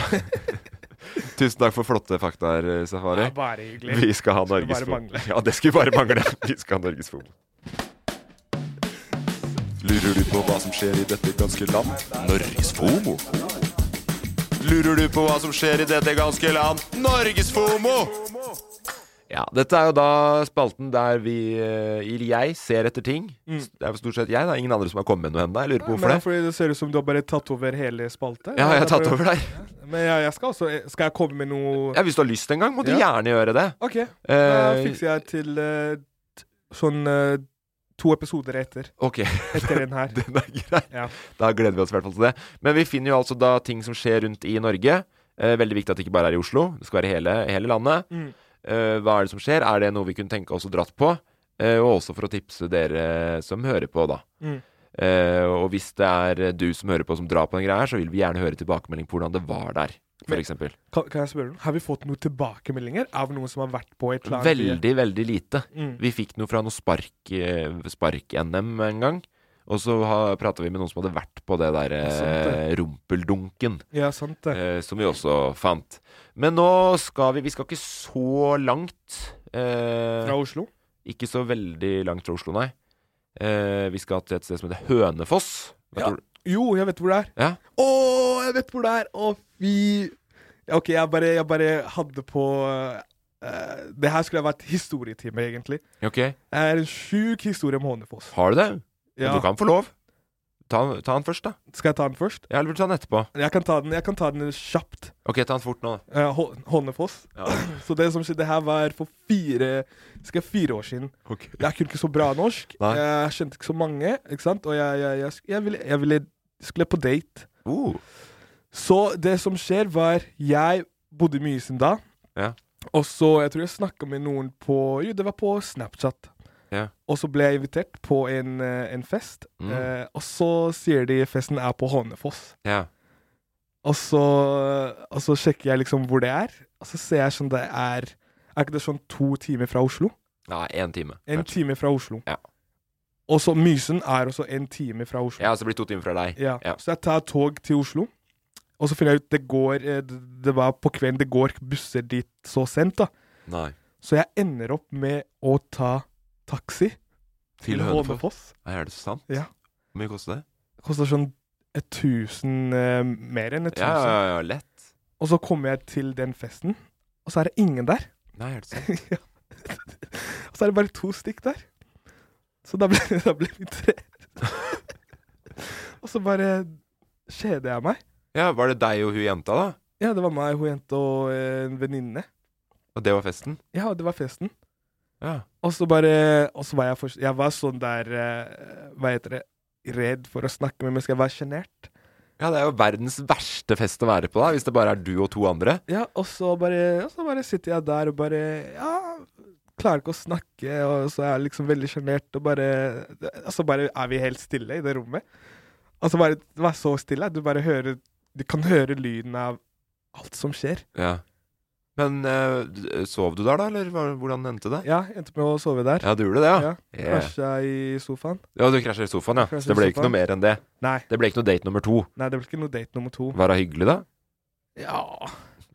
S2: Tusen takk for flotte faktaer, eh, Safari.
S1: Ja, bare hyggelig.
S2: Vi skal ha
S1: Skulle bare
S2: Norgesfotball.
S1: mangle.
S2: Ja, det skulle bare mangle. Vi skal ha Norgesfotball.
S5: Lurer du på hva som skjer i dette ganske land? Norges FOMO. Lurer du på hva som skjer i dette ganske land? Norges FOMO!
S2: Ja, Dette er jo da spalten der vi eh, eller jeg ser etter ting. Det er jo stort sett jeg. Det er ingen andre som har kommet med noe ennå. Jeg lurer på
S1: Mm. Men det er
S2: hvorfor det.
S1: fordi det ser ut som du har bare tatt over hele spalta.
S2: Ja, jeg har tatt over der.
S1: Men ja, jeg skal også eh, Skal jeg komme med noe
S2: Ja, Hvis du har lyst en gang, må du
S1: Ja.
S2: gjerne gjøre det.
S1: OK. Da
S2: Eh,
S1: fikser jeg til eh, t- sånn eh, to episoder etter.
S2: Ok,
S1: Etter den her.
S2: den er grei.
S1: Ja.
S2: Da gleder vi oss i hvert fall til det. Men vi finner jo altså da ting som skjer rundt i Norge. Eh, veldig viktig at det ikke bare er i Oslo. Det skal være i hele, hele landet.
S1: Mm.
S2: Eh, hva er det som skjer? Er det noe vi kunne tenke oss å dratt på? Eh, og også for å tipse dere som hører på, da.
S1: Mm.
S2: Eh, og hvis det er du som hører på som drar på den greia her, så vil vi gjerne høre tilbakemelding på hvordan det var der,
S1: Men-
S2: f.eks.
S1: Kan, kan jeg spørre noe? Har vi fått noen tilbakemeldinger av noen som har vært på et eller annet?
S2: Veldig, veldig lite.
S1: Mm.
S2: Vi fikk noe fra noe spark, eh, spark-NM en gang. Og så prata vi med noen som hadde vært på det der
S1: Ja, sant
S2: eh, rumpeldunken.
S1: Ja, sant det.
S2: eh, som vi også fant. Men nå skal vi Vi skal ikke så langt. Eh,
S1: Fra Oslo?
S2: ikke så veldig langt fra Oslo, nei. Eh, vi skal til et sted som heter Hønefoss. Hva
S1: Ja.
S2: tror du?
S1: Jo, jeg vet hvor det er.
S2: Ja.
S1: Å, jeg vet hvor det er! Å, fy Ja, OK, jeg bare, jeg bare hadde på eh, Det her skulle ha vært historietime, egentlig.
S2: Ok.
S1: Det er en sjuk historie om Hånefoss.
S2: Har du det?
S1: Ja.
S2: Du kan få lov. Ta, ta den først, da.
S1: Skal jeg ta den først?
S2: Ja, Eller vil du ta den etterpå?
S1: Jeg kan ta den, jeg kan ta den kjapt.
S2: Ok, ta den fort nå. da.
S1: Eh, Hå- Hånefoss. Så det som skjedde her, var for fire Skal jeg fire år siden. Jeg kunne ikke så bra norsk.
S2: Nei.
S1: Jeg skjønte ikke så mange. Ikke sant? Og jeg, jeg, jeg, sk- jeg, ville, jeg ville, skulle på date.
S2: Uh,
S1: Så det som skjer, var Jeg bodde i Mysen da.
S2: Ja.
S1: Og så Jeg tror jeg snakka med noen på Jo, det var på Snapchat.
S2: Ja.
S1: Og så ble jeg invitert på en, eh, en fest.
S2: Mm.
S1: Eh, og så sier de festen er på Hånefoss.
S2: ja.
S1: Og så, og så sjekker jeg liksom hvor det er, og så ser jeg sånn det er Er ikke det sånn to timer fra Oslo?
S2: Nei, én time.
S1: En
S2: kanskje.
S1: time fra Oslo.
S2: Ja.
S1: Og så Mysen er også en time fra Oslo.
S2: Ja, så blir det to timer fra deg.
S1: Ja.
S2: Ja.
S1: Så jeg tar tog til Oslo, og så finner jeg ut det går eh, Det det var på kvelden, det går busser dit så sent, da.
S2: Nei.
S1: Så jeg ender opp med å ta taxi
S2: Til Hønefoss.
S1: Hånefoss.
S2: Nei, Er det sant?
S1: Ja.
S2: Hvor mye koster det?
S1: Det koster sånn 1000 eh, Mer enn 1000.
S2: Ja, ja, ja, lett.
S1: Og så kommer jeg til den festen, og så er det ingen der.
S2: Nei, er det sant?
S1: Og så er det bare to stykk der. Så da ble, da ble vi tre. og så bare kjeder jeg meg.
S2: Ja, Var det deg og hun jenta, da?
S1: Ja, det var meg, hun jenta og eh, en venninne.
S2: Og det var festen?
S1: Ja, det var festen.
S2: Ja.
S1: Og så bare Og så var jeg for, Jeg var sånn der eh, Hva heter det? Redd for å snakke med mennesker. Jeg var sjenert.
S2: ja, det er jo verdens verste fest å være på, da, hvis det bare er du og to andre.
S1: Ja, og så bare Og så bare sitter jeg der og bare Ja, klarer ikke å snakke, og så er jeg liksom veldig sjenert, og bare Og så bare er vi helt stille i det rommet. Og så bare det var så stille. Du bare hører Du kan høre lyden av alt som skjer.
S2: Ja. Men eh, d- sov du der, da, eller hva- hvordan endte det?
S1: Ja, endte med å sove der.
S2: Ja, du gjorde det, ja?
S1: Ja,
S2: Yeah.
S1: Krasja i sofaen.
S2: Ja, du krasja i sofaen, ja.
S1: Krasjet
S2: Så det ble
S1: i
S2: ikke
S1: sofaen.
S2: noe mer enn det.
S1: Nei,
S2: Det ble ikke noe date nummer to.
S1: nei, det ble ikke noe date nummer to.
S2: Var det hyggelig, da?
S1: Ja,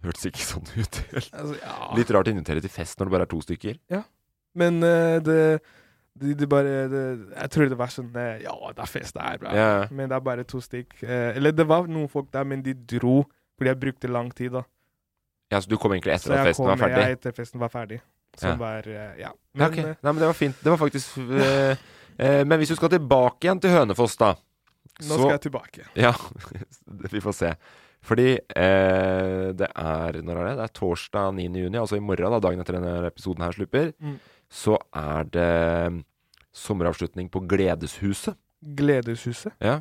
S2: Hørtes ikke sånn ut. helt.
S1: altså, ja.
S2: Litt rart å invitere til fest når det bare er to stykker.
S1: Men eh, det de, de bare det, Jeg tror det var sånn eh, Ja, det er fest, det er bra.
S2: Ja.
S1: Men det er bare to stykk. Eh, eller det var noen folk der, men de dro fordi jeg brukte lang tid, da.
S2: ja, så du kom egentlig
S1: Så
S2: etter at
S1: jeg
S2: festen var ferdig?
S1: jeg etter festen var ferdig. Som
S2: Ja.
S1: var eh, Ja.
S2: Ja, ok.
S1: eh,
S2: Nei, men det var fint. Det var faktisk eh, eh, Men hvis du skal tilbake igjen til Hønefoss, da
S1: nå skal jeg tilbake.
S2: Ja, vi får se. Fordi eh, det er Når er det? Det er torsdag 9. juni, altså i morgen, da, dagen etter denne episoden her slipper,
S1: Mm.
S2: så er det mm, sommeravslutning på Gledeshuset.
S1: Gledeshuset.
S2: Ja.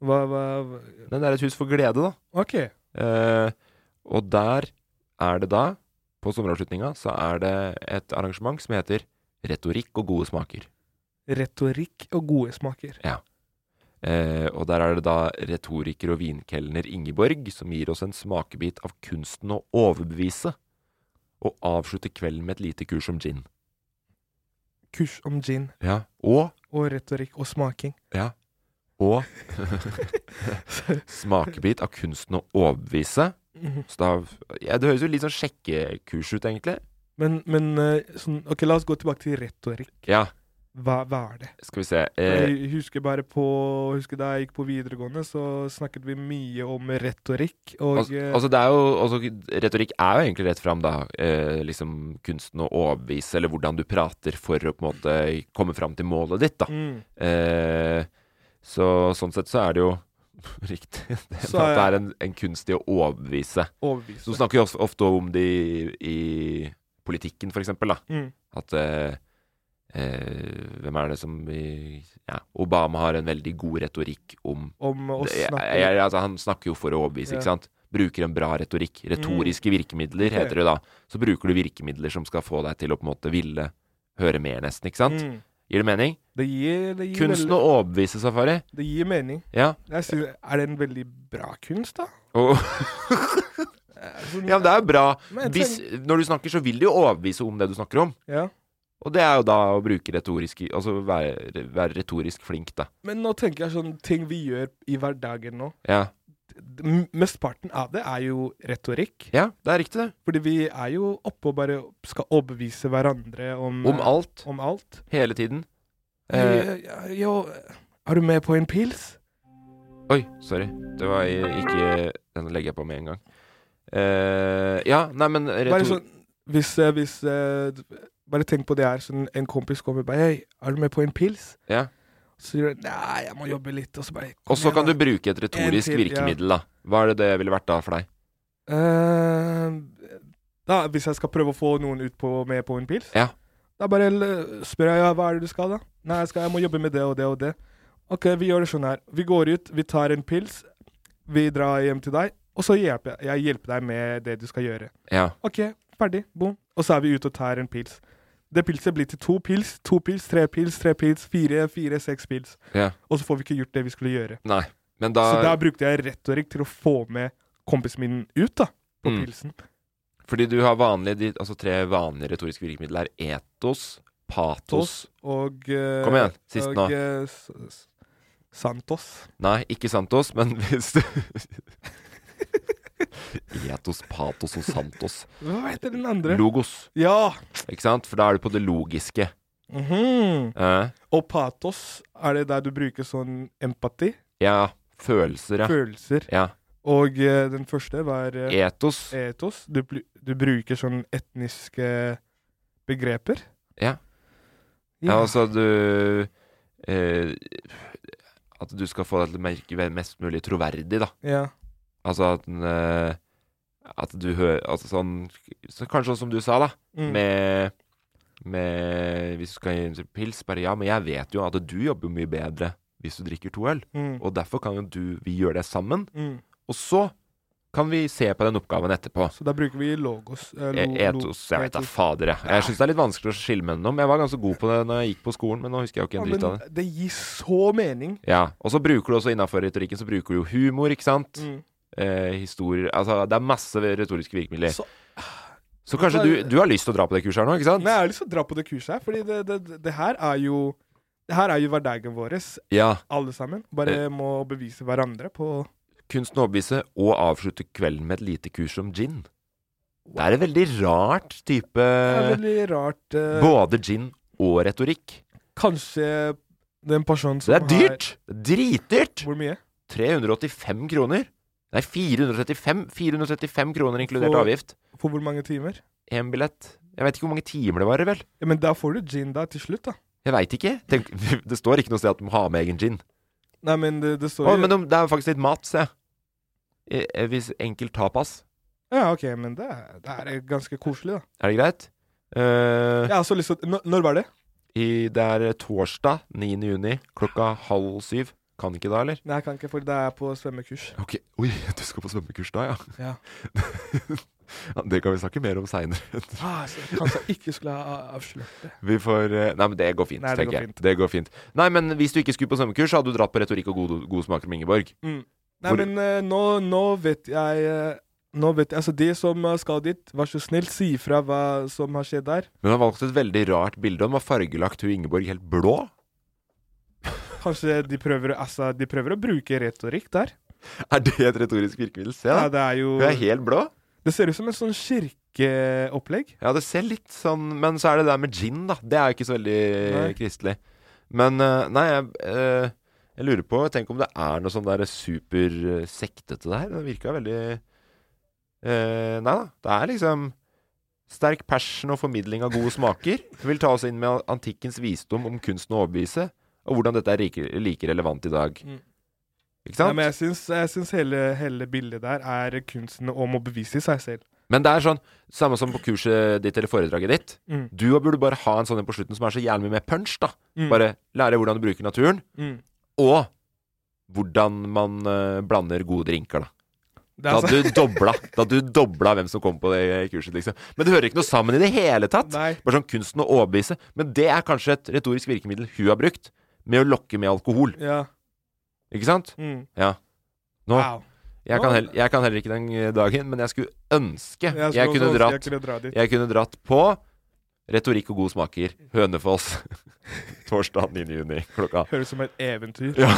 S1: Hva, hva hva-
S2: Men det er et hus for glede, da.
S1: OK.
S2: Eh, og der er det da, på sommeravslutninga, så er det et arrangement som heter Retorikk og gode smaker.
S1: Retorikk og gode smaker.
S2: Eh, og der er det da retoriker og vinkelner Ingeborg som gir oss en smakebit av kunsten å overbevise, og avslutter kvelden med et lite kurs om gin.
S1: Kurs om gin
S2: Ja. Og,
S1: og retorikk og smaking.
S2: ja, og smakebit av kunsten å overbevise.
S1: Mhm.
S2: Så da, ja, det høres jo litt sånn sjekkekurs ut, egentlig.
S1: Men, men eh, sånn, OK, la oss gå tilbake til retorikk.
S2: Ja.
S1: Hva, hva er det?
S2: Skal vi se eh,
S1: Jeg husker bare på Husker da jeg gikk på videregående, så snakket vi mye om retorikk. Og eh,
S2: altså, altså, det er jo, altså Retorikk er jo egentlig rett fram, da. Eh, liksom kunsten å overbevise, eller hvordan du prater for å på en måte komme fram til målet ditt, da.
S1: Mm.
S2: Eh, så sånn sett så er det jo riktig. Det,
S1: Så
S2: at det
S1: er-
S2: er en, en kunst i å overbevise. Så
S1: overbevise.
S2: snakker vi også ofte om det i, i politikken, for eksempel, da.
S1: Mm.
S2: At eh, eh, Hvem er det som i- Ja, Obama har en veldig god retorikk om
S1: Om å
S2: det-
S1: snakke
S2: jeg, jeg, altså, Han snakker jo for å overbevise,
S1: Ja. Mm.
S2: ikke sant? Bruker en bra retorikk. Retoriske virkemidler,
S1: Ok.
S2: heter det da. Så bruker du virkemidler som skal få deg til å på en måte ville høre mer, nesten, ikke sant?
S1: Mm.
S2: Gir det mening?
S1: Det gir, det gir,
S2: Kunsten å
S1: veldig,
S2: overbevise, Safari.
S1: det gir mening.
S2: Ja.
S1: Jeg synes, er det en veldig bra kunst, da?
S2: Og
S1: Sånn-
S2: ja, men det er jo bra.
S1: Men jeg
S2: Hvis, når du snakker, så vil de jo overbevise om det du snakker om.
S1: ja.
S2: Og det er jo da å bruke retorisk Altså være, være retorisk flink, da.
S1: Men nå tenker jeg sånn ting vi gjør i hverdagen nå.
S2: Ja.
S1: D- m- Mesteparten av det er jo retorikk.
S2: ja, det er riktig, det.
S1: Fordi vi er jo oppe og bare skal overbevise hverandre om
S2: Om alt.
S1: Om alt.
S2: Hele tiden. Eh,
S1: Ja, ja, jo, er du med på en pils?
S2: Oi, sorry. Det var i- ikke Den legger jeg på med en gang. Eh, ja, nei, men
S1: Bare
S2: retor...
S1: sånn Hvis, eh, hvis eh, d- Bare tenk på det her. Sånn, en kompis kommer bare Hei, er du med på en pils?
S2: Ja.
S1: Så sier du Nei, jeg må jobbe litt. Og så bare
S2: Og så kan du
S1: bruke
S2: bruke et retorisk
S1: En til, ja.
S2: virkemiddel, da. Hva er det det ville vært da for deg?
S1: Eh, da, hvis jeg skal prøve å få noen ut på, med på en pils,
S2: Ja.
S1: da bare l- spør jeg ja, hva er det du skal, da. Nei, jeg, skal, jeg må jobbe med det og det og det. OK, vi gjør det sånn her. Vi går ut, vi tar en pils, vi drar hjem til deg, og så hjelper jeg, jeg hjelper deg med det du skal gjøre.
S2: Ja.
S1: OK, ferdig, bom. Og så er vi ute og tar en pils. Det pilset blir til to pils, to pils, tre pils, tre pils, fire, fire, seks pils.
S2: ja.
S1: Og så får vi ikke gjort det vi skulle gjøre.
S2: Nei. Men da
S1: Så der brukte jeg retorikk til å få med kompisen min ut, da, på
S2: Mm.
S1: pilsen.
S2: Fordi du har vanlige de- Altså tre vanlige retoriske virkemidler er etos, patos
S1: og eh,
S2: Kom igjen, sist nå.
S1: Og eh, S- S- Santos.
S2: Nei, ikke santos, men hvis du Etos, patos og santos.
S1: Hva heter den andre?
S2: Logos,
S1: ja!
S2: ikke sant? For da er du på det logiske.
S1: Mhm.
S2: Eh,
S1: Og patos, er det der du bruker sånn empati?
S2: ja. Følelser, ja. E.
S1: Følelser.
S2: ja.
S1: Og eh, den første var eh,
S2: Etos.
S1: etos. Du, bl- du bruker sånn etniske begreper.
S2: Ja.
S1: Ja.
S2: Ja, altså du eh, At du skal få deg til å merke mest mulig troverdig, da.
S1: ja.
S2: Altså at den, eh, At du hører Altså sånn så Kanskje sånn som du sa, da.
S1: Mm.
S2: Med, med Hvis du skal gi en pils, bare ja, men jeg vet jo at du jobber mye bedre hvis du drikker to øl.
S1: Mm.
S2: Og derfor kan jo du Vi gjør det sammen.
S1: Mm.
S2: Og så kan vi se på den oppgaven etterpå.
S1: Så da bruker vi logos. eh,
S2: E-
S1: lo- lo-
S2: Etos Jeg vet da
S1: etos.
S2: fader, jeg. Jeg syns det er litt vanskelig å skille mellom dem. Jeg var ganske god på det når jeg gikk på skolen, men nå husker jeg jo ikke
S1: Ja,
S2: en dritt av det.
S1: men det gir så mening.
S2: Ja, Og så bruker du også innafor retorikken så bruker du jo humor, ikke sant?
S1: Mm.
S2: Eh, historier Altså, det er masse retoriske virkemidler.
S1: Så-
S2: Så, kanskje du,
S1: Bare-
S2: du har lyst til å dra på det kurset her nå, ikke sant?
S1: Nei, jeg har lyst til å dra på det kurset her, fordi det, det, det, det her er jo det her er jo hverdagen vår,
S2: Ja.
S1: alle sammen. Bare må bevise hverandre på
S2: Kunsten å overbevise og avslutte kvelden med et lite kurs om gin. Det er en veldig rart type
S1: Det er veldig rart eh,
S2: Både gin og retorikk.
S1: Kanskje den personen som
S2: Så det er dyrt! Dritdyrt!
S1: Har, hvor mye?
S2: 385 kroner. Nei, 435, 435 kroner inkludert
S1: For-
S2: avgift.
S1: For hvor mange timer?
S2: Én billett. Jeg veit ikke hvor mange timer det varer, vel.
S1: Ja, men da får du gin da, til slutt, da.
S2: Jeg veit ikke. Tenk, det står ikke noe sted at de må ha med egen gin.
S1: Nei, men det, det står
S2: Å,
S1: jo
S2: men de, det er faktisk litt mat, se. Eh, eh, Hvis enkel tapas.
S1: Ja, OK, men det, er- det er ganske koselig, da.
S2: Er det greit? Eh,
S1: Jeg har så lyst til å Nå- Når var det?
S2: i, det er torsdag 9. juni klokka halv syv. Kan ikke da, eller?
S1: Nei, jeg kan ikke, for det er på svømmekurs.
S2: Ok, Oi, du skal på svømmekurs da, ja?
S1: Ja.
S2: Ja, det kan vi snakke mer om seinere.
S1: Ah, så kanskje jeg ikke skulle ha avslørt det.
S2: Vi får eh, Nei, men det går fint,
S1: Nei, det
S2: tenker
S1: går
S2: jeg.
S1: fint.
S2: Det går fint. Nei, men hvis du ikke skulle på svømmekurs, så hadde du dratt på retorikk og gode, gode smaker med Ingeborg.
S1: Nei,
S2: Hvor-
S1: men eh, nå, nå vet jeg eh, Nå vet jeg, altså De som eh, skal dit, vær så snill, si ifra hva som har skjedd der.
S2: Men hun har valgt et veldig rart bilde. Hun har fargelagt hun Ingeborg helt blå.
S1: Kanskje de prøver, å- altså, de prøver å bruke retorikk der.
S2: Er det et retorisk virkemiddel? Se,
S1: Ja,
S2: da.
S1: det er jo
S2: Hun er helt blå.
S1: Det ser ut som en sånn kirke kirkeopplegg?
S2: Ja, det ser litt sånn Men så er det det der med gin, da. Det er jo ikke så veldig
S1: Nei.
S2: kristelig. Men eh, nei, jeg, eh, jeg lurer på Tenk om det er noe sånn der supersektete der. Det virka veldig eh, Nei da. Det er liksom sterk passion og formidling av gode smaker. Vi vil ta oss inn med antikkens visdom om kunsten å overbevise, og hvordan dette er like, like relevant i dag.
S1: Mm.
S2: Ikke
S1: Ja,
S2: sant?
S1: men jeg syns, jeg syns hele, hele bildet der er kunsten om å bevise seg selv.
S2: Men det er sånn, samme som på kurset ditt eller foredraget ditt.
S1: Mm.
S2: Du burde bare ha en sånn en på slutten som er så jævlig mye mer punch, da.
S1: Mm.
S2: Bare lære hvordan du bruker naturen,
S1: Mm.
S2: og hvordan man eh, blander gode drinker, da.
S1: Det
S2: Da
S1: er altså-
S2: hadde du dobla Da hadde du dobla hvem som kom på det kurset, liksom. Men det hører ikke noe sammen i det hele tatt.
S1: Nei.
S2: Bare sånn kunsten å overbevise. Men det er kanskje et retorisk virkemiddel hun har brukt, med å lokke med alkohol.
S1: Ja.
S2: Ikke sant?
S1: Mm.
S2: Ja. Nå,
S1: Wow.
S2: jeg, kan
S1: Nå-
S2: heller, jeg kan heller ikke den eh, dagen, men jeg skulle ønske
S1: Jeg
S2: jeg,
S1: skulle også
S2: kunne
S1: ønske jeg
S2: dratt
S1: kunne dra dit.
S2: Jeg kunne dratt på retorikk og gode smaker. Hønefoss. Torsdag 9. juni klokka
S1: Høres ut som et eventyr.
S2: Ja.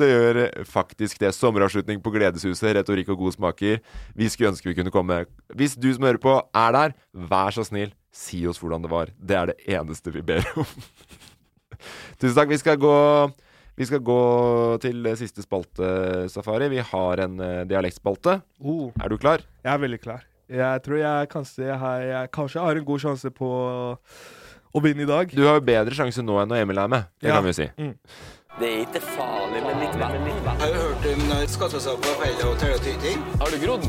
S2: Det gjør eh, faktisk det. Sommeravslutning på Gledeshuset, retorikk og gode smaker. Vi skulle ønske vi kunne komme. Hvis du som hører på er der, vær så snill, si oss hvordan det var. Det er det eneste vi ber om. Tusen takk. Vi skal gå vi skal gå til eh, siste spalte, Safari. Vi har en eh, dialektspalte.
S1: Oh,
S2: Er du klar?
S1: jeg er veldig klar. Jeg tror jeg kanskje jeg har, jeg kanskje har en god sjanse på å vinne i dag.
S2: Du har jo bedre sjanse nå enn når Emil er med. Det
S1: Ja.
S2: kan vi jo si.
S6: Det er ikke farlig med litt vann.
S3: Har du hørt om når skatter seg på feil og tørre tyting?
S6: Har du grodd?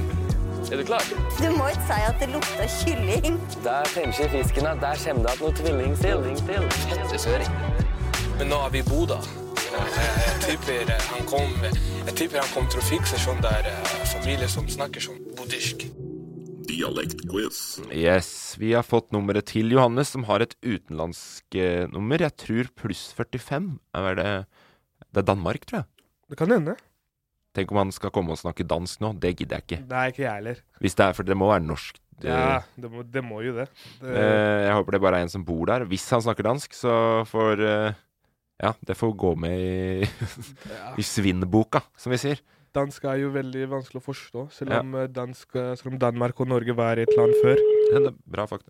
S6: Er du klar?
S7: Du må ikke si at det lukter kylling.
S6: Der fremskjer fisken at der kommer det at noe tvilling til.
S3: Søring. Men nå er vi i Bodø. Jeg tipper han kom Jeg tipper han kom til å fikse sånn der familie som snakker sånn bodisk.
S2: Yes, vi har fått nummeret til Johannes, som har et utenlandsk eh, nummer. Jeg tror pluss 45. Er det, det er Danmark, tror jeg.
S1: Det kan hende.
S2: Tenk om han skal komme og snakke dansk nå. Det gidder jeg ikke.
S1: Nei, ikke jeg heller.
S2: Hvis det er, For det må være norsk. Det,
S1: Ja, det må, det må jo det. det
S2: eh, jeg håper det bare er en som bor der. Hvis han snakker dansk, så får eh, Ja, det får gå med i,
S1: ja.
S2: i svinnboka, som vi sier.
S1: Dansk er jo veldig vanskelig å forstå, selv
S2: Ja.
S1: om, eh, dansk, eh, selv om Danmark og Norge var et land før.
S2: Det er bra fakta.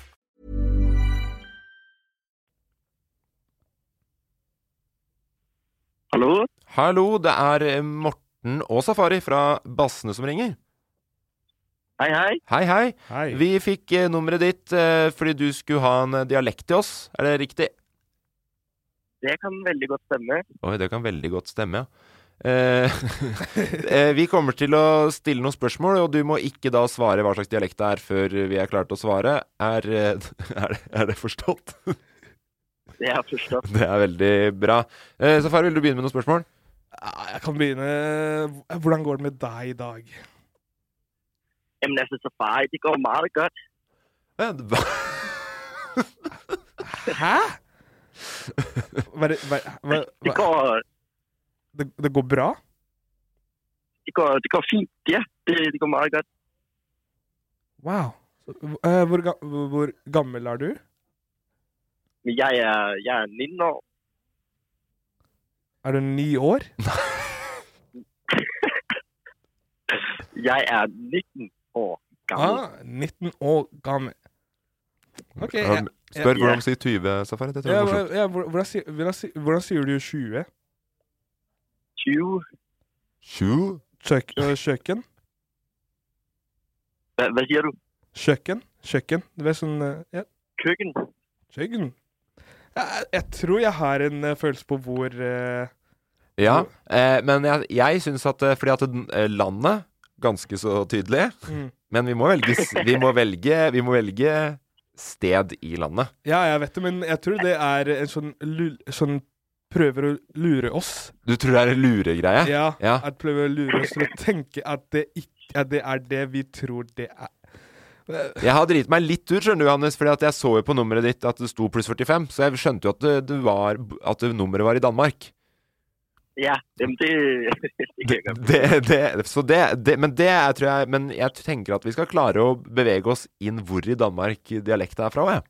S6: Hallo?
S2: Hallo, det er eh, Morten og Safari fra Bassene som ringer.
S6: Hei, hei.
S2: Hei, hei.
S1: Hei.
S2: Vi fikk eh, nummeret ditt eh, fordi du skulle ha en eh, dialekt til oss. Er det riktig?
S6: Det kan veldig godt stemme.
S2: Oi, det kan veldig godt stemme, ja. Eh, eh, vi kommer til å stille noen spørsmål, og du må ikke da svare hva slags dialekt det er før vi er klare til å svare. Er, eh, er, det, er det forstått?
S8: Det er forstått.
S2: Det er veldig bra. Eh, Safari, vil du begynne med noen spørsmål?
S1: Ah, Jeg kan begynne Hvordan går det med deg i dag?
S8: Jamen altså, Safari, det går meget godt.
S1: Hæ? Hva, er det- hva,
S3: Eh,
S1: hva,
S8: Det
S1: hva?
S8: går,
S1: Det, det går bra?
S8: det går, det går fint, ja. Det, det går meget godt.
S1: Wow. Eh, Hvor, ga- hvor gammel er du?
S8: Men jeg er, jeg er 19 år.
S1: Er du ni år?
S8: Jeg er 19 år gammel.
S1: Ah, 19 år gammel. Ok,
S2: Han
S1: ja,
S2: Spør
S1: ja.
S2: hvordan de sier 20, Safari. Det tror
S1: Ja,
S2: jeg er
S1: hva-
S2: morsomt.
S1: ja, hvor- hvordan, sier- hvordan, sier- hvordan sier du 20?
S8: 20.
S2: Tju?
S1: Kjøk, øh, kjøkken?
S8: Hva, hva sier du?
S1: Kjøkken? Kjøkken? Det er sånn øh, ja.
S8: Køkken?
S1: Kjøkken. Jeg, jeg tror jeg har en øh, følelse på hvor øh,
S2: Ja, eh, men jeg, jeg syns at eh, Fordi at eh, landet ganske så tydelig,
S1: Mm.
S2: men vi må, velge, s- vi, må velge, vi må velge sted i landet.
S1: Ja, jeg vet det, men jeg tror det er en sånn, lul, sånn Prøver å lure oss.
S2: Du tror det er en luregreie?
S1: Ja,
S2: ja.
S1: At prøver å lure oss til å tenke at det, ikke, at det er det vi tror det er.
S2: Jeg har driti meg litt ut, skjønner du, Johannes, fordi at jeg så jo på nummeret ditt at det sto pluss 45, så jeg skjønte jo at, det, det var, at det nummeret var i Danmark.
S8: Ja, jamen det, det kan jeg godt.
S2: Det, det, så det, det, men det er, tror jeg Men jeg tenker at vi skal klare å bevege oss inn hvor i Danmark dialekten er fra. Jeg.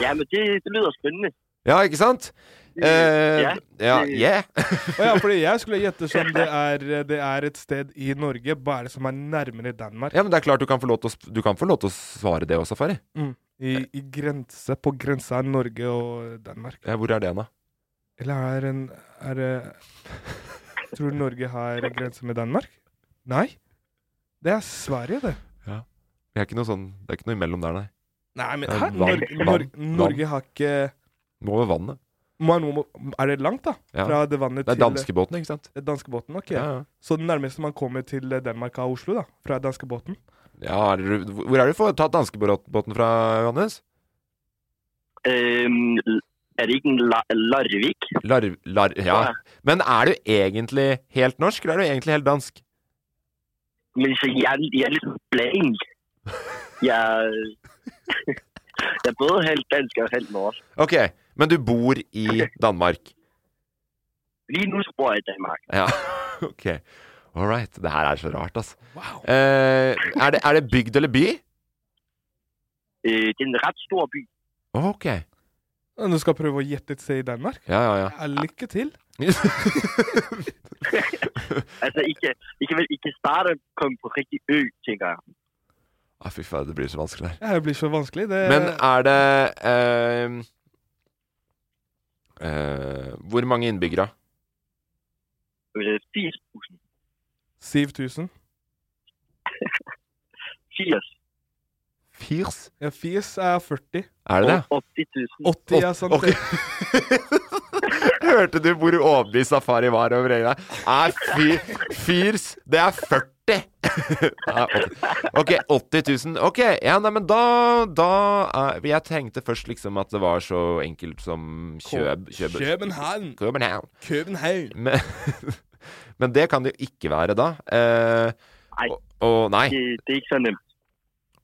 S8: Ja, men det, det lyder spændende.
S2: Ja, ikke sant?
S3: Øh.
S2: Eh,
S8: Ja.
S2: ja, yeah.
S1: Å ja, fordi jeg skulle gjette som det er, det er et sted i Norge, bare som er nærmere Danmark.
S2: ja, men det er klart du kan få lov til å, sp- du kan få lov til å svare det også, Safari.
S1: Mm. I, I grense, på grensa av Norge og Danmark.
S2: Ja, hvor er det, da?
S1: Eller er en er, det- Tror du Norge har grense med Danmark? Nei. Det er Sverige, det.
S2: Det er ikke noe sånn Det er ikke noe imellom der, nei.
S1: Nei, men
S2: Det er
S1: her,
S2: vann,
S1: Norge,
S2: vann,
S1: Norge,
S2: vann.
S1: Norge har ikke
S2: Må over vannet.
S1: må, må, Er det langt, da?
S2: Ja.
S1: Fra det vannet
S2: Det er
S1: til eh,
S2: danskebåten, ikke sant?
S1: Det er Danskebåten, ok.
S2: Ja, ja.
S1: Så det nærmeste man kommer til eh, Danmark, er Oslo, da. Fra danskebåten.
S2: Ja, er du, hvor er det du får tatt danskebåten fra, Johannes?
S8: Øhm, er det ikke en la, Larvik?
S2: Larv... Lar, ja.
S8: Ja.
S2: Men er du egentlig helt norsk, eller er du egentlig helt dansk?
S8: Men så jeg, er- jeg er litt blank. Jeg, jeg er både halvt dansk og halvt norsk.
S2: Ok, men du bor i Danmark.
S8: Lige nu så bor jeg i Danmark.
S2: Ja, ok. All right. Det her er så rart, altså. Eh, er, det, er det bygd eller by?
S8: Øh, det er en ret stor by.
S2: Ok. Ja,
S1: Du skal prøve å gjette et sted i Danmark?
S2: ja, ja.
S1: Ja, lykke til.
S8: Altså, I kan, I kan, vel- I kan starte og komme på rigtig ø, tænker jeg.
S2: Ah, fy faen, det blir så vanskelig her.
S1: Ja, Det blir så vanskelig. Det
S2: Men er det eh, eh, Hvor mange innbyggere?
S8: Øh, 80.000.
S1: 7000.
S8: 80.
S2: Firs?
S1: Ja, Fies er 40.
S2: Er det det?
S8: Og 80.000.
S1: 80 er sånn- sant.
S2: Ok. Hørte du hvor overbevist Safari var over øynene? Er fi- firs Det er 40! Nei, åtti- OK, 80 000. OK, ja, nei, men da, da er- Jeg tenkte først liksom at det var så enkelt som Kjøb... Kjøb-
S1: København.
S2: København.
S1: København.
S2: Men, men det kan det jo ikke være, da. Eh,
S8: Nei.
S2: og, og nei.
S8: Det, det er ikke så nemt.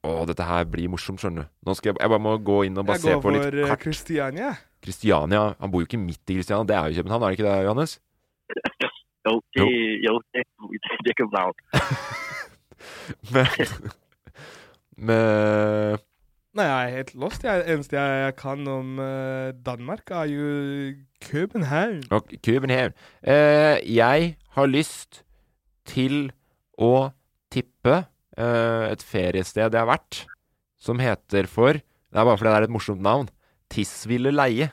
S2: Å, dette her blir morsomt, skjønner du. Nå skal jeg, jeg bare må gå inn og bare
S1: Jeg
S2: se
S1: går
S2: på litt
S1: for eh,
S2: kart.
S1: Christiania.
S2: Kristiania Han bor jo ikke midt i Kristiania, det er jo København, er det ikke det, Johannes?
S8: Jo, det,
S2: Jo.
S8: jo, det, det, det er København.
S2: Men, men
S1: Nei, jeg er helt lost. Jeg, eneste jeg, jeg kan om eh, Danmark, er jo København.
S2: ok, København. Eh, jeg har lyst til å tippe eh, et feriested jeg har vært, som heter for Det er bare fordi det er et morsomt navn. Tissville leie.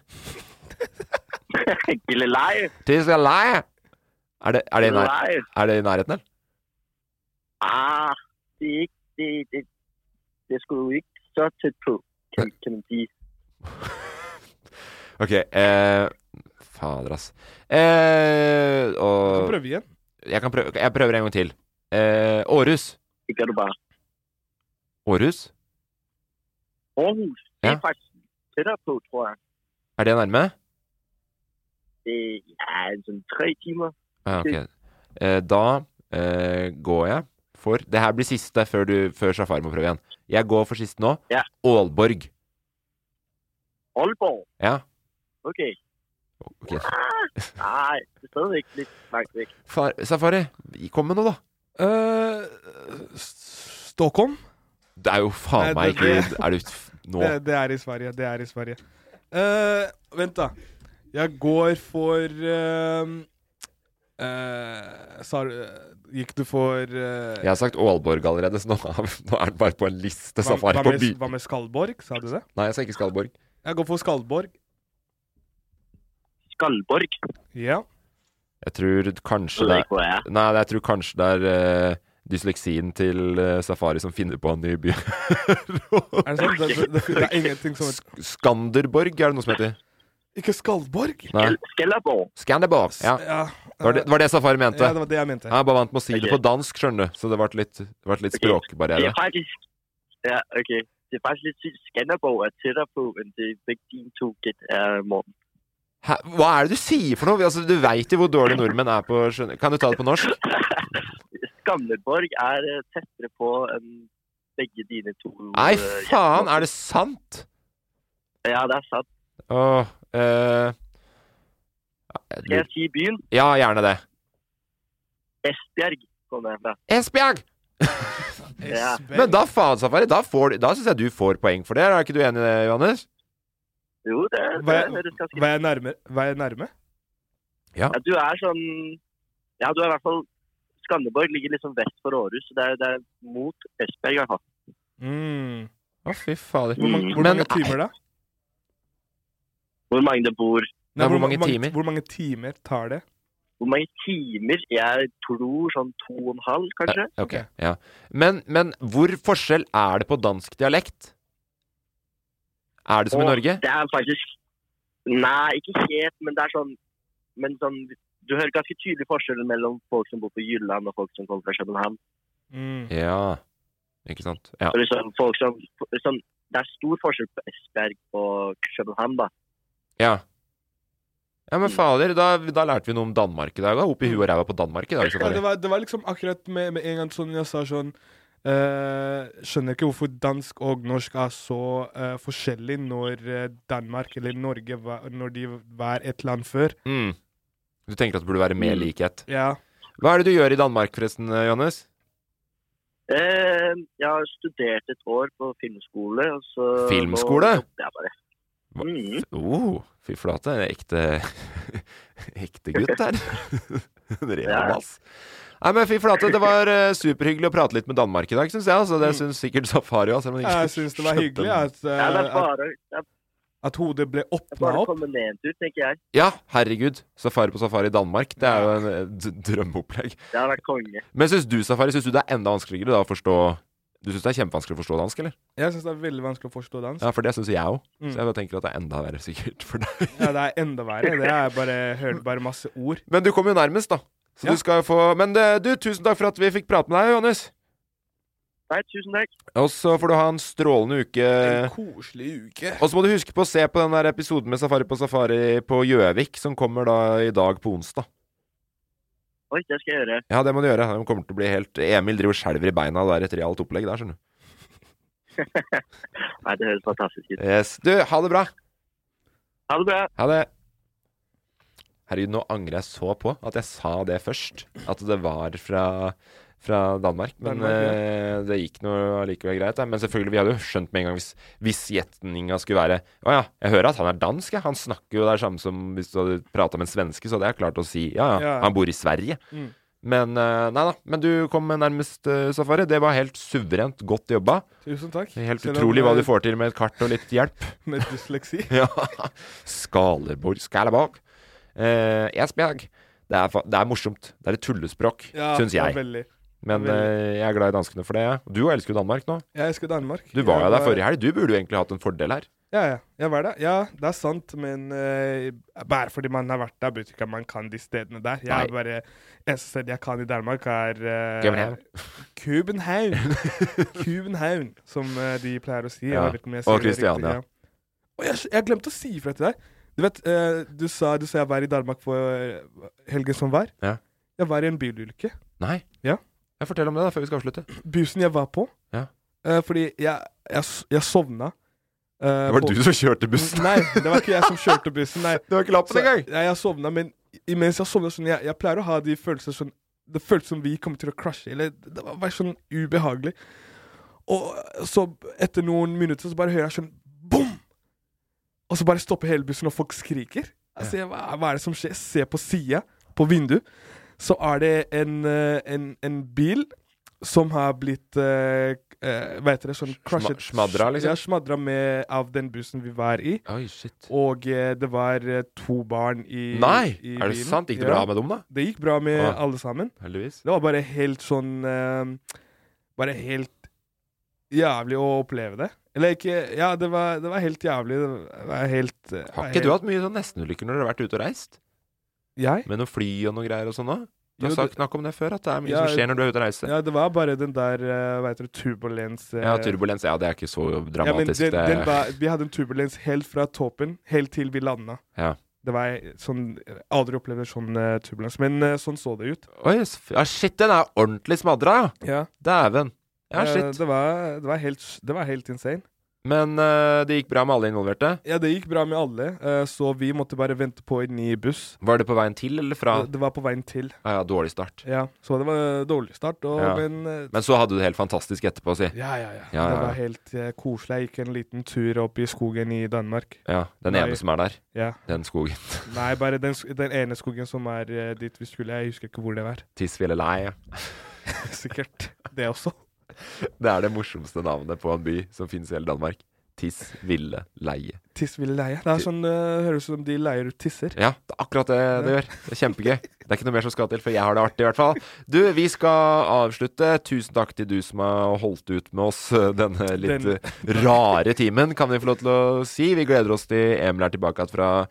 S8: Gilleleje.
S2: Tissville leie! Er det, er, det i nær,
S8: Leie.
S2: er det i nærheten, eller?
S8: Ah, det er ikke... Det, det, det er sgu ikke så tæt på, kan, kan man sige.
S2: Ok. Eh, fader, ass. Eh, og
S1: Du kan prøve igjen.
S2: Jeg, kan prøve, jeg prøver en gang til. Eh, Århus.
S8: Ikke er det bare.
S2: Århus?
S8: Aarhus, det er
S2: Ja.
S8: faktisk tættere på, tror jeg.
S2: Er det nærme?
S8: Det er sådan tre timer.
S2: Ja, Ah,
S1: Mm.
S2: ok. Eh, da eh, går jeg for Det her blir siste før, du, før Safari må prøve igjen. Jeg går for siste nå.
S8: Ja.
S2: Aalborg.
S8: Aalborg,
S2: Ja.
S8: okay.
S2: ok.
S8: Ah, nej, det er stadigvæk lidt langt væk.
S2: Far, Safari, kom med noe, da. Eh,
S1: Stockholm?
S2: Det er jo faen
S1: Nei, det-
S2: meg ikke
S1: det-
S2: Er du f- Nå.
S1: Det, det er i Sverige. Det er i Sverige. Eh, vent, da. Jeg går for eh, eh, sa, du- Gikk du for eh,
S2: Jeg har sagt Aalborg allerede, så nå, nå er den bare på en liste.
S1: hva,
S2: Safari
S1: hva,
S2: på
S1: med,
S2: by.
S1: hva med Skallborg? Sa du det?
S2: Nei, jeg sa ikke Skalborg.
S1: Jeg går for Skallborg.
S8: Skallborg?
S1: Ja.
S2: Jeg tror kanskje
S8: Vet
S2: det
S8: ikke hvor jeg
S2: er Nei, jeg tror kanskje det er eh, dysleksien til eh, Safari som finner på en ny by.
S1: Er det sånn? Det, det, det, det er ingenting som heter
S2: Sk- Skanderborg er det noe som heter.
S1: Ikke Skallborg?
S2: Nei.
S8: Skellerborg.
S2: Skanderborg. Ja.
S1: Ja.
S2: Det var det, det var det Safari mente.
S1: Ja, det var det jeg mente.
S2: Jeg bare vant med å si det på dansk, skjønner du. Så det ble litt, det ble litt
S8: Det
S2: språkbarriere.
S8: er faktisk... Ja, okay. Det er faktisk lidt sygt. Skanderborg er tættere på, end det begge dine to gæt er, Morten.
S2: Hæ? Hva er det du sier for noe? Altså, du veit jo hvor dårlige nordmenn er på å skjønne Kan du ta det på norsk?
S8: Skamleborg er øh, tættere på end begge dine to...
S2: Nei,
S8: øh, ja,
S2: faen!
S8: Morten.
S2: Er det sant?
S8: Ja, det er sant.
S2: Åh, eh,
S8: Skal jeg sige byen?
S2: Ja, gjerne det.
S8: Esbjerg kommer jeg fra.
S2: Esbjerg!
S8: Ja.
S2: Men da faen, Safari, da, får- da syns jeg du får poeng for det. Er ikke du enig i det, Johannes?
S8: Jo, det, det,
S1: Var
S8: det
S1: jeg, var jeg nærme? Var jeg nærme?
S8: Ja, du er sånn Ja, du er i hvert fall Skanderborg ligger liksom vest for Århus, så det er, det er mot Esbjerg i hvert fall.
S1: Mm.
S2: Å, fy fader.
S8: Hvor mange- hvor
S2: Men-
S8: mange timer
S1: da?
S8: Hvor mange det bor
S1: Nei, ma- Hvor mange timer tar det?
S8: Hvor mange timer? Jeg tror sånn to og en halv, kanskje.
S2: Eh, ok, ja. Men, men hvor forskjell er det på dansk dialekt? Er det som i
S8: Og
S2: Norge?
S8: Det er faktisk Nei, ikke helt, men det er sånn Men sånn Du hører ganske tydelig forskjellen mellom folk som bor på Jylland og folk som kommer fra København.
S1: Mm.
S2: Ja. Ikke sant? Ja.
S8: Og liksom folk som, sånn, det er stor forskjell på Esbjerg og København, da.
S2: ja. Ja, men fader, da, da lærte vi noe om Danmark i dag. da. Opp i huet og ræva på Danmark i dag.
S1: Ja, det,
S2: Safari.
S1: var, det var liksom akkurat med, med en gang sånn jeg sa sånn eh, Skjønner ikke hvorfor dansk og norsk er så eh, forskjellig når eh, Danmark eller Norge var, Når de var et land før.
S2: Mm. Du tenker at det burde være mer
S1: Mm.
S2: likhet?
S1: Ja.
S2: Hva er det du gjør i Danmark, forresten, Johannes?
S8: Eh, jeg har studert et år på filmskole. Og så
S2: Filmskole?
S8: nå jobbet jeg bare.
S2: Hva-
S8: Mm.
S2: f- Oh, fy flate. En ekte ekte gutt her. En real
S8: Ja.
S2: mass. Nei, men fy flate, det var eh, superhyggelig å prate litt med Danmark i dag, syns jeg. Altså, det syns sikkert Safari òg, selv om han ikke
S1: Jeg syns det var
S2: skjønte
S1: hyggelig
S2: den.
S1: at, eh,
S8: Ja, det er
S1: at,
S8: bare, det er
S1: at hodet ble åpna
S8: bare å
S1: opp.
S8: komme ned en tur, tenker jeg.
S2: Ja, herregud. Safari på safari i Danmark. Det er jo en eh, d- drømmeopplegg.
S8: Det har vært konge.
S2: Men syns du, Safari, syns du det er enda vanskeligere da å forstå Du syns det er kjempevanskelig å forstå dansk, eller?
S1: Jeg syns det er veldig vanskelig å forstå dansk.
S2: Ja, for det syns jeg òg.
S1: Mm.
S2: Så jeg bare tenker at det er enda verre, sikkert, for deg.
S1: Ja, det er enda verre. Det er bare, hører bare masse ord.
S2: Men du kom jo nærmest, da. Så du skal jo få Men eh, du, tusen takk for at vi fikk prate med deg, Johannes.
S8: Nei, tusen takk.
S2: Og så får du ha en strålende uke.
S1: Koselig uke.
S2: Og så må du huske på å se på den der episoden med Safari på Safari på Gjøvik, som kommer da i dag på onsdag.
S8: Oi, det skal jeg gjøre.
S2: Ja, det må du gjøre. Den kommer til å bli helt Emil driver og skjelver i beina. Det er et realt opplegg der, skjønner du.
S8: Nei, det høres fantastisk ut.
S2: Yes. Du, ha det bra.
S8: Ha det bra.
S2: Ha det. Herregud, nå angrer jeg så på at jeg sa det først. At det var fra, fra Danmark. Men
S1: Danmark, ja.
S2: eh, det gikk nå allikevel greit. Da. Men selvfølgelig, vi hadde jo skjønt med en gang hvis, hvis gjetninga skulle være Å ja, jeg hører at han er dansk, jeg. Han snakker jo det er samme som hvis du hadde prata med en svenske, så hadde jeg klart å si ja, ja,
S1: Ja.
S2: han bor i Sverige.
S1: Mm.
S2: Men eh, nei da. Men du kom med nærmest eh, safari. Det var helt suverent godt jobba.
S1: Tusen takk.
S2: Helt
S1: Selv om,
S2: utrolig hva
S1: eh,
S2: du får til med et kart og litt hjelp.
S1: Med dysleksi.
S2: Ja. Skalerborg Skalerborg. Eh, Esbjerg. Det er, fa det er morsomt. Det er et tullespråk,
S1: Ja,
S2: syns
S1: det er
S2: jeg.
S1: veldig.
S2: Men
S1: Veldig.
S2: eh, jeg er glad i danskene for det. jeg. Du elsker jo Danmark nå.
S1: Jeg elsker Danmark.
S2: Du var
S1: Jeg
S2: jo der forrige helg. Du burde jo egentlig hatt en fordel her.
S1: Ja, ja. Jeg var der. Ja, det er sant, men eh, bare fordi man har vært der, betyr ikke at man kan de stedene der. Jeg
S2: Nei.
S1: er bare Eneste stedet jeg kan i Danmark, er eh,
S2: København.
S1: København. København, som eh, de pleier å si. Jeg
S2: Ja.
S1: vet ikke om jeg
S2: Og
S1: sier det riktig,
S2: Christiania.
S1: ja. Å, jeg, jeg glemte å si ifra til deg. Du vet, eh, du, sa, du sa jeg var i Danmark for eh, helgen som var.
S2: Ja.
S1: Jeg var i en bilulykke.
S2: Nei.
S1: Ja. Eh,
S2: Jeg Fortell om det, da, før vi skal avslutte.
S1: Bussen jeg var på.
S2: Ja.
S1: Eh, fordi jeg, jeg, s- jeg sovna. eh,
S2: Det var
S1: på-
S2: du som kjørte bussen.
S1: Nei, det var ikke jeg som kjørte bussen. Nei.
S2: Du har ikke lappen
S1: Så-
S2: engang.
S1: Nei, jeg sovna, men imens jeg sovna sånn jeg, jeg pleier å ha de følelser sånn Det føltes som vi kom til å krasje, eller det var bare sånn ubehagelig. Og så, etter noen minutter, så bare hører jeg sånn BOM! Og så bare stopper hele bussen, og folk skriker. Altså, Jeg ser, hva, hva er det som skjer? Jeg ser på sida, på vinduet, så er det en, eh, en, en bil som har blitt eh, eh, Hva heter det? Sånn crushet
S2: smadra, liksom?
S1: Ja, smadra med, av den bussen vi var i.
S2: Oi, shit.
S1: Og eh, det var eh, to barn i
S2: Nei!
S1: i
S2: Er det
S1: bilen.
S2: sant? Gikk det bra med dem, da?
S1: Det gikk bra med
S2: Ah.
S1: alle sammen.
S2: Heldigvis.
S1: Det var bare helt sånn eh, Bare helt jævlig å oppleve det. Eller ikke Ja, det var, det var helt jævlig. Det var helt eh,
S2: Har
S1: var
S2: ikke du
S1: helt-
S2: hatt mye sånn nestenulykker når du har vært ute og reist?
S1: Jeg?
S2: Med noe fly og noe greier og sånn òg? Du har
S1: Jo,
S2: sagt
S1: det-
S2: snakk om det før, at det er mye
S1: Ja,
S2: som skjer når du er ute og reiser. Ja,
S1: Ja, det var bare den der eh, Hva heter det? Turbulens eh,
S2: turbulens. Ja, det er ikke så
S1: Ja, men
S2: dramatisk.
S1: den,
S2: det-
S1: den var, vi hadde en turbulens helt fra toppen, helt til vi landa.
S2: Ja.
S1: Det var sånn jeg Aldri opplevd sånn eh, turbulens. Men eh, sånn så det ut.
S2: Oi, s- ja, shit, den er ordentlig smadra,
S1: Ja.
S2: ja. Dæven. Ja,
S1: Eh,
S2: shit.
S1: Det var, det, var helt, det var helt insane.
S2: Men eh, det gikk bra med alle involverte?
S1: Ja, det gikk bra med alle, eh, så vi måtte bare vente på en ny buss.
S2: Var det på veien til eller fra?
S1: Det, det var på veien til.
S2: Ja, ja, dårlig start.
S1: Ja, så det var dårlig start, og,
S2: Ja.
S1: men eh,
S2: Men så hadde du det helt fantastisk etterpå, si.
S1: ja, ja, ja,
S2: Ja,
S1: Det
S2: ja,
S1: var
S2: ja.
S1: helt eh, koselig. Jeg gikk en liten tur opp i skogen i Danmark.
S2: ja den
S1: Nei.
S2: ene som er der.
S1: Ja.
S2: Den skogen.
S1: Nei, bare den, sk- den ene skogen som er eh, dit vi skulle. Jeg husker ikke hvor det var.
S2: Tisville Leie.
S1: Sikkert det også.
S2: Det er det morsomste navnet på en by som finnes i hele Danmark. Tisville Leie.
S1: Tiss ville leie. Det er sånn, eh, høres ut som de leier ut tisser.
S2: Ja, det er akkurat det det gjør. Det er kjempegøy. Det er ikke noe mer som skal til, for jeg har det artig i hvert fall. Du, vi skal avslutte. Tusen takk til du som har holdt ut med oss eh, denne litt
S1: Den-
S2: eh, rare timen, kan vi få lov til å si. Vi gleder oss til Emil er tilbake igjen fra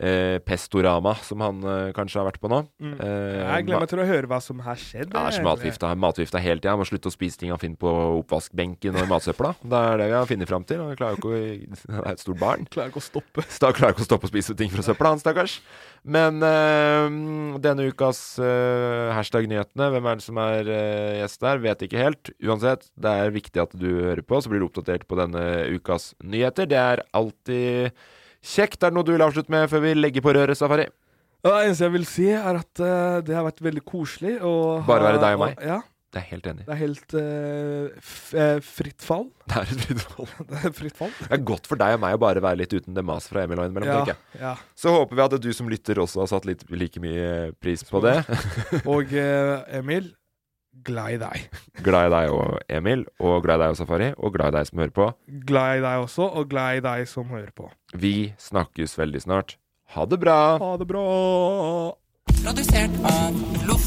S2: eh, Pestorama, som han eh, kanskje har vært på nå.
S1: Mm.
S2: Eh,
S1: Jeg gleder meg til å høre hva som har skjedd. eh,
S2: Ja, det er
S1: jeg,
S2: så matforgifta, matforgifta hele tida. Må slutte å spise ting han finner på oppvaskbenken og i matsøpla. Det er det vi har funnet fram til. Han klarer jo ikke å Han er et stort barn.
S1: Klarer ikke å stoppe.
S2: Sta, klarer ikke å stoppe å spise ting fra søpla, han stakkars. Men eh, denne ukas eh, hashtag nyhetene, hvem er det som er eh, gjest der? Vet ikke helt. Uansett, det er viktig at du hører på, så blir du oppdatert på denne ukas nyheter. Det er alltid kjekt. Er det noe du vil avslutte med før vi legger på røret, Safari?
S1: Ja, Det eneste jeg vil si, er at eh, det har vært veldig koselig å ha
S2: Bare være deg og meg.
S1: ja.
S2: Det er jeg helt enig. i.
S1: Det er helt eh, f eh, fritt fall.
S2: Det er et fritt fall.
S1: Det er fritt fall.
S2: Det er godt for deg og meg å bare være litt uten det maset fra Emil og innimellom,
S1: Ja,
S2: tenker jeg.
S1: ja.
S2: Så håper vi at du som lytter også har satt litt, like mye pris på det.
S1: Og eh, Emil, glad i deg.
S2: glad i deg òg, Emil, og glad i deg òg, Safari, og glad i deg som hører på.
S1: Glad i deg også, og glad i deg som hører på.
S2: Vi snakkes veldig snart. Ha det bra!
S1: Ha det bra!
S6: Produsert av Loff.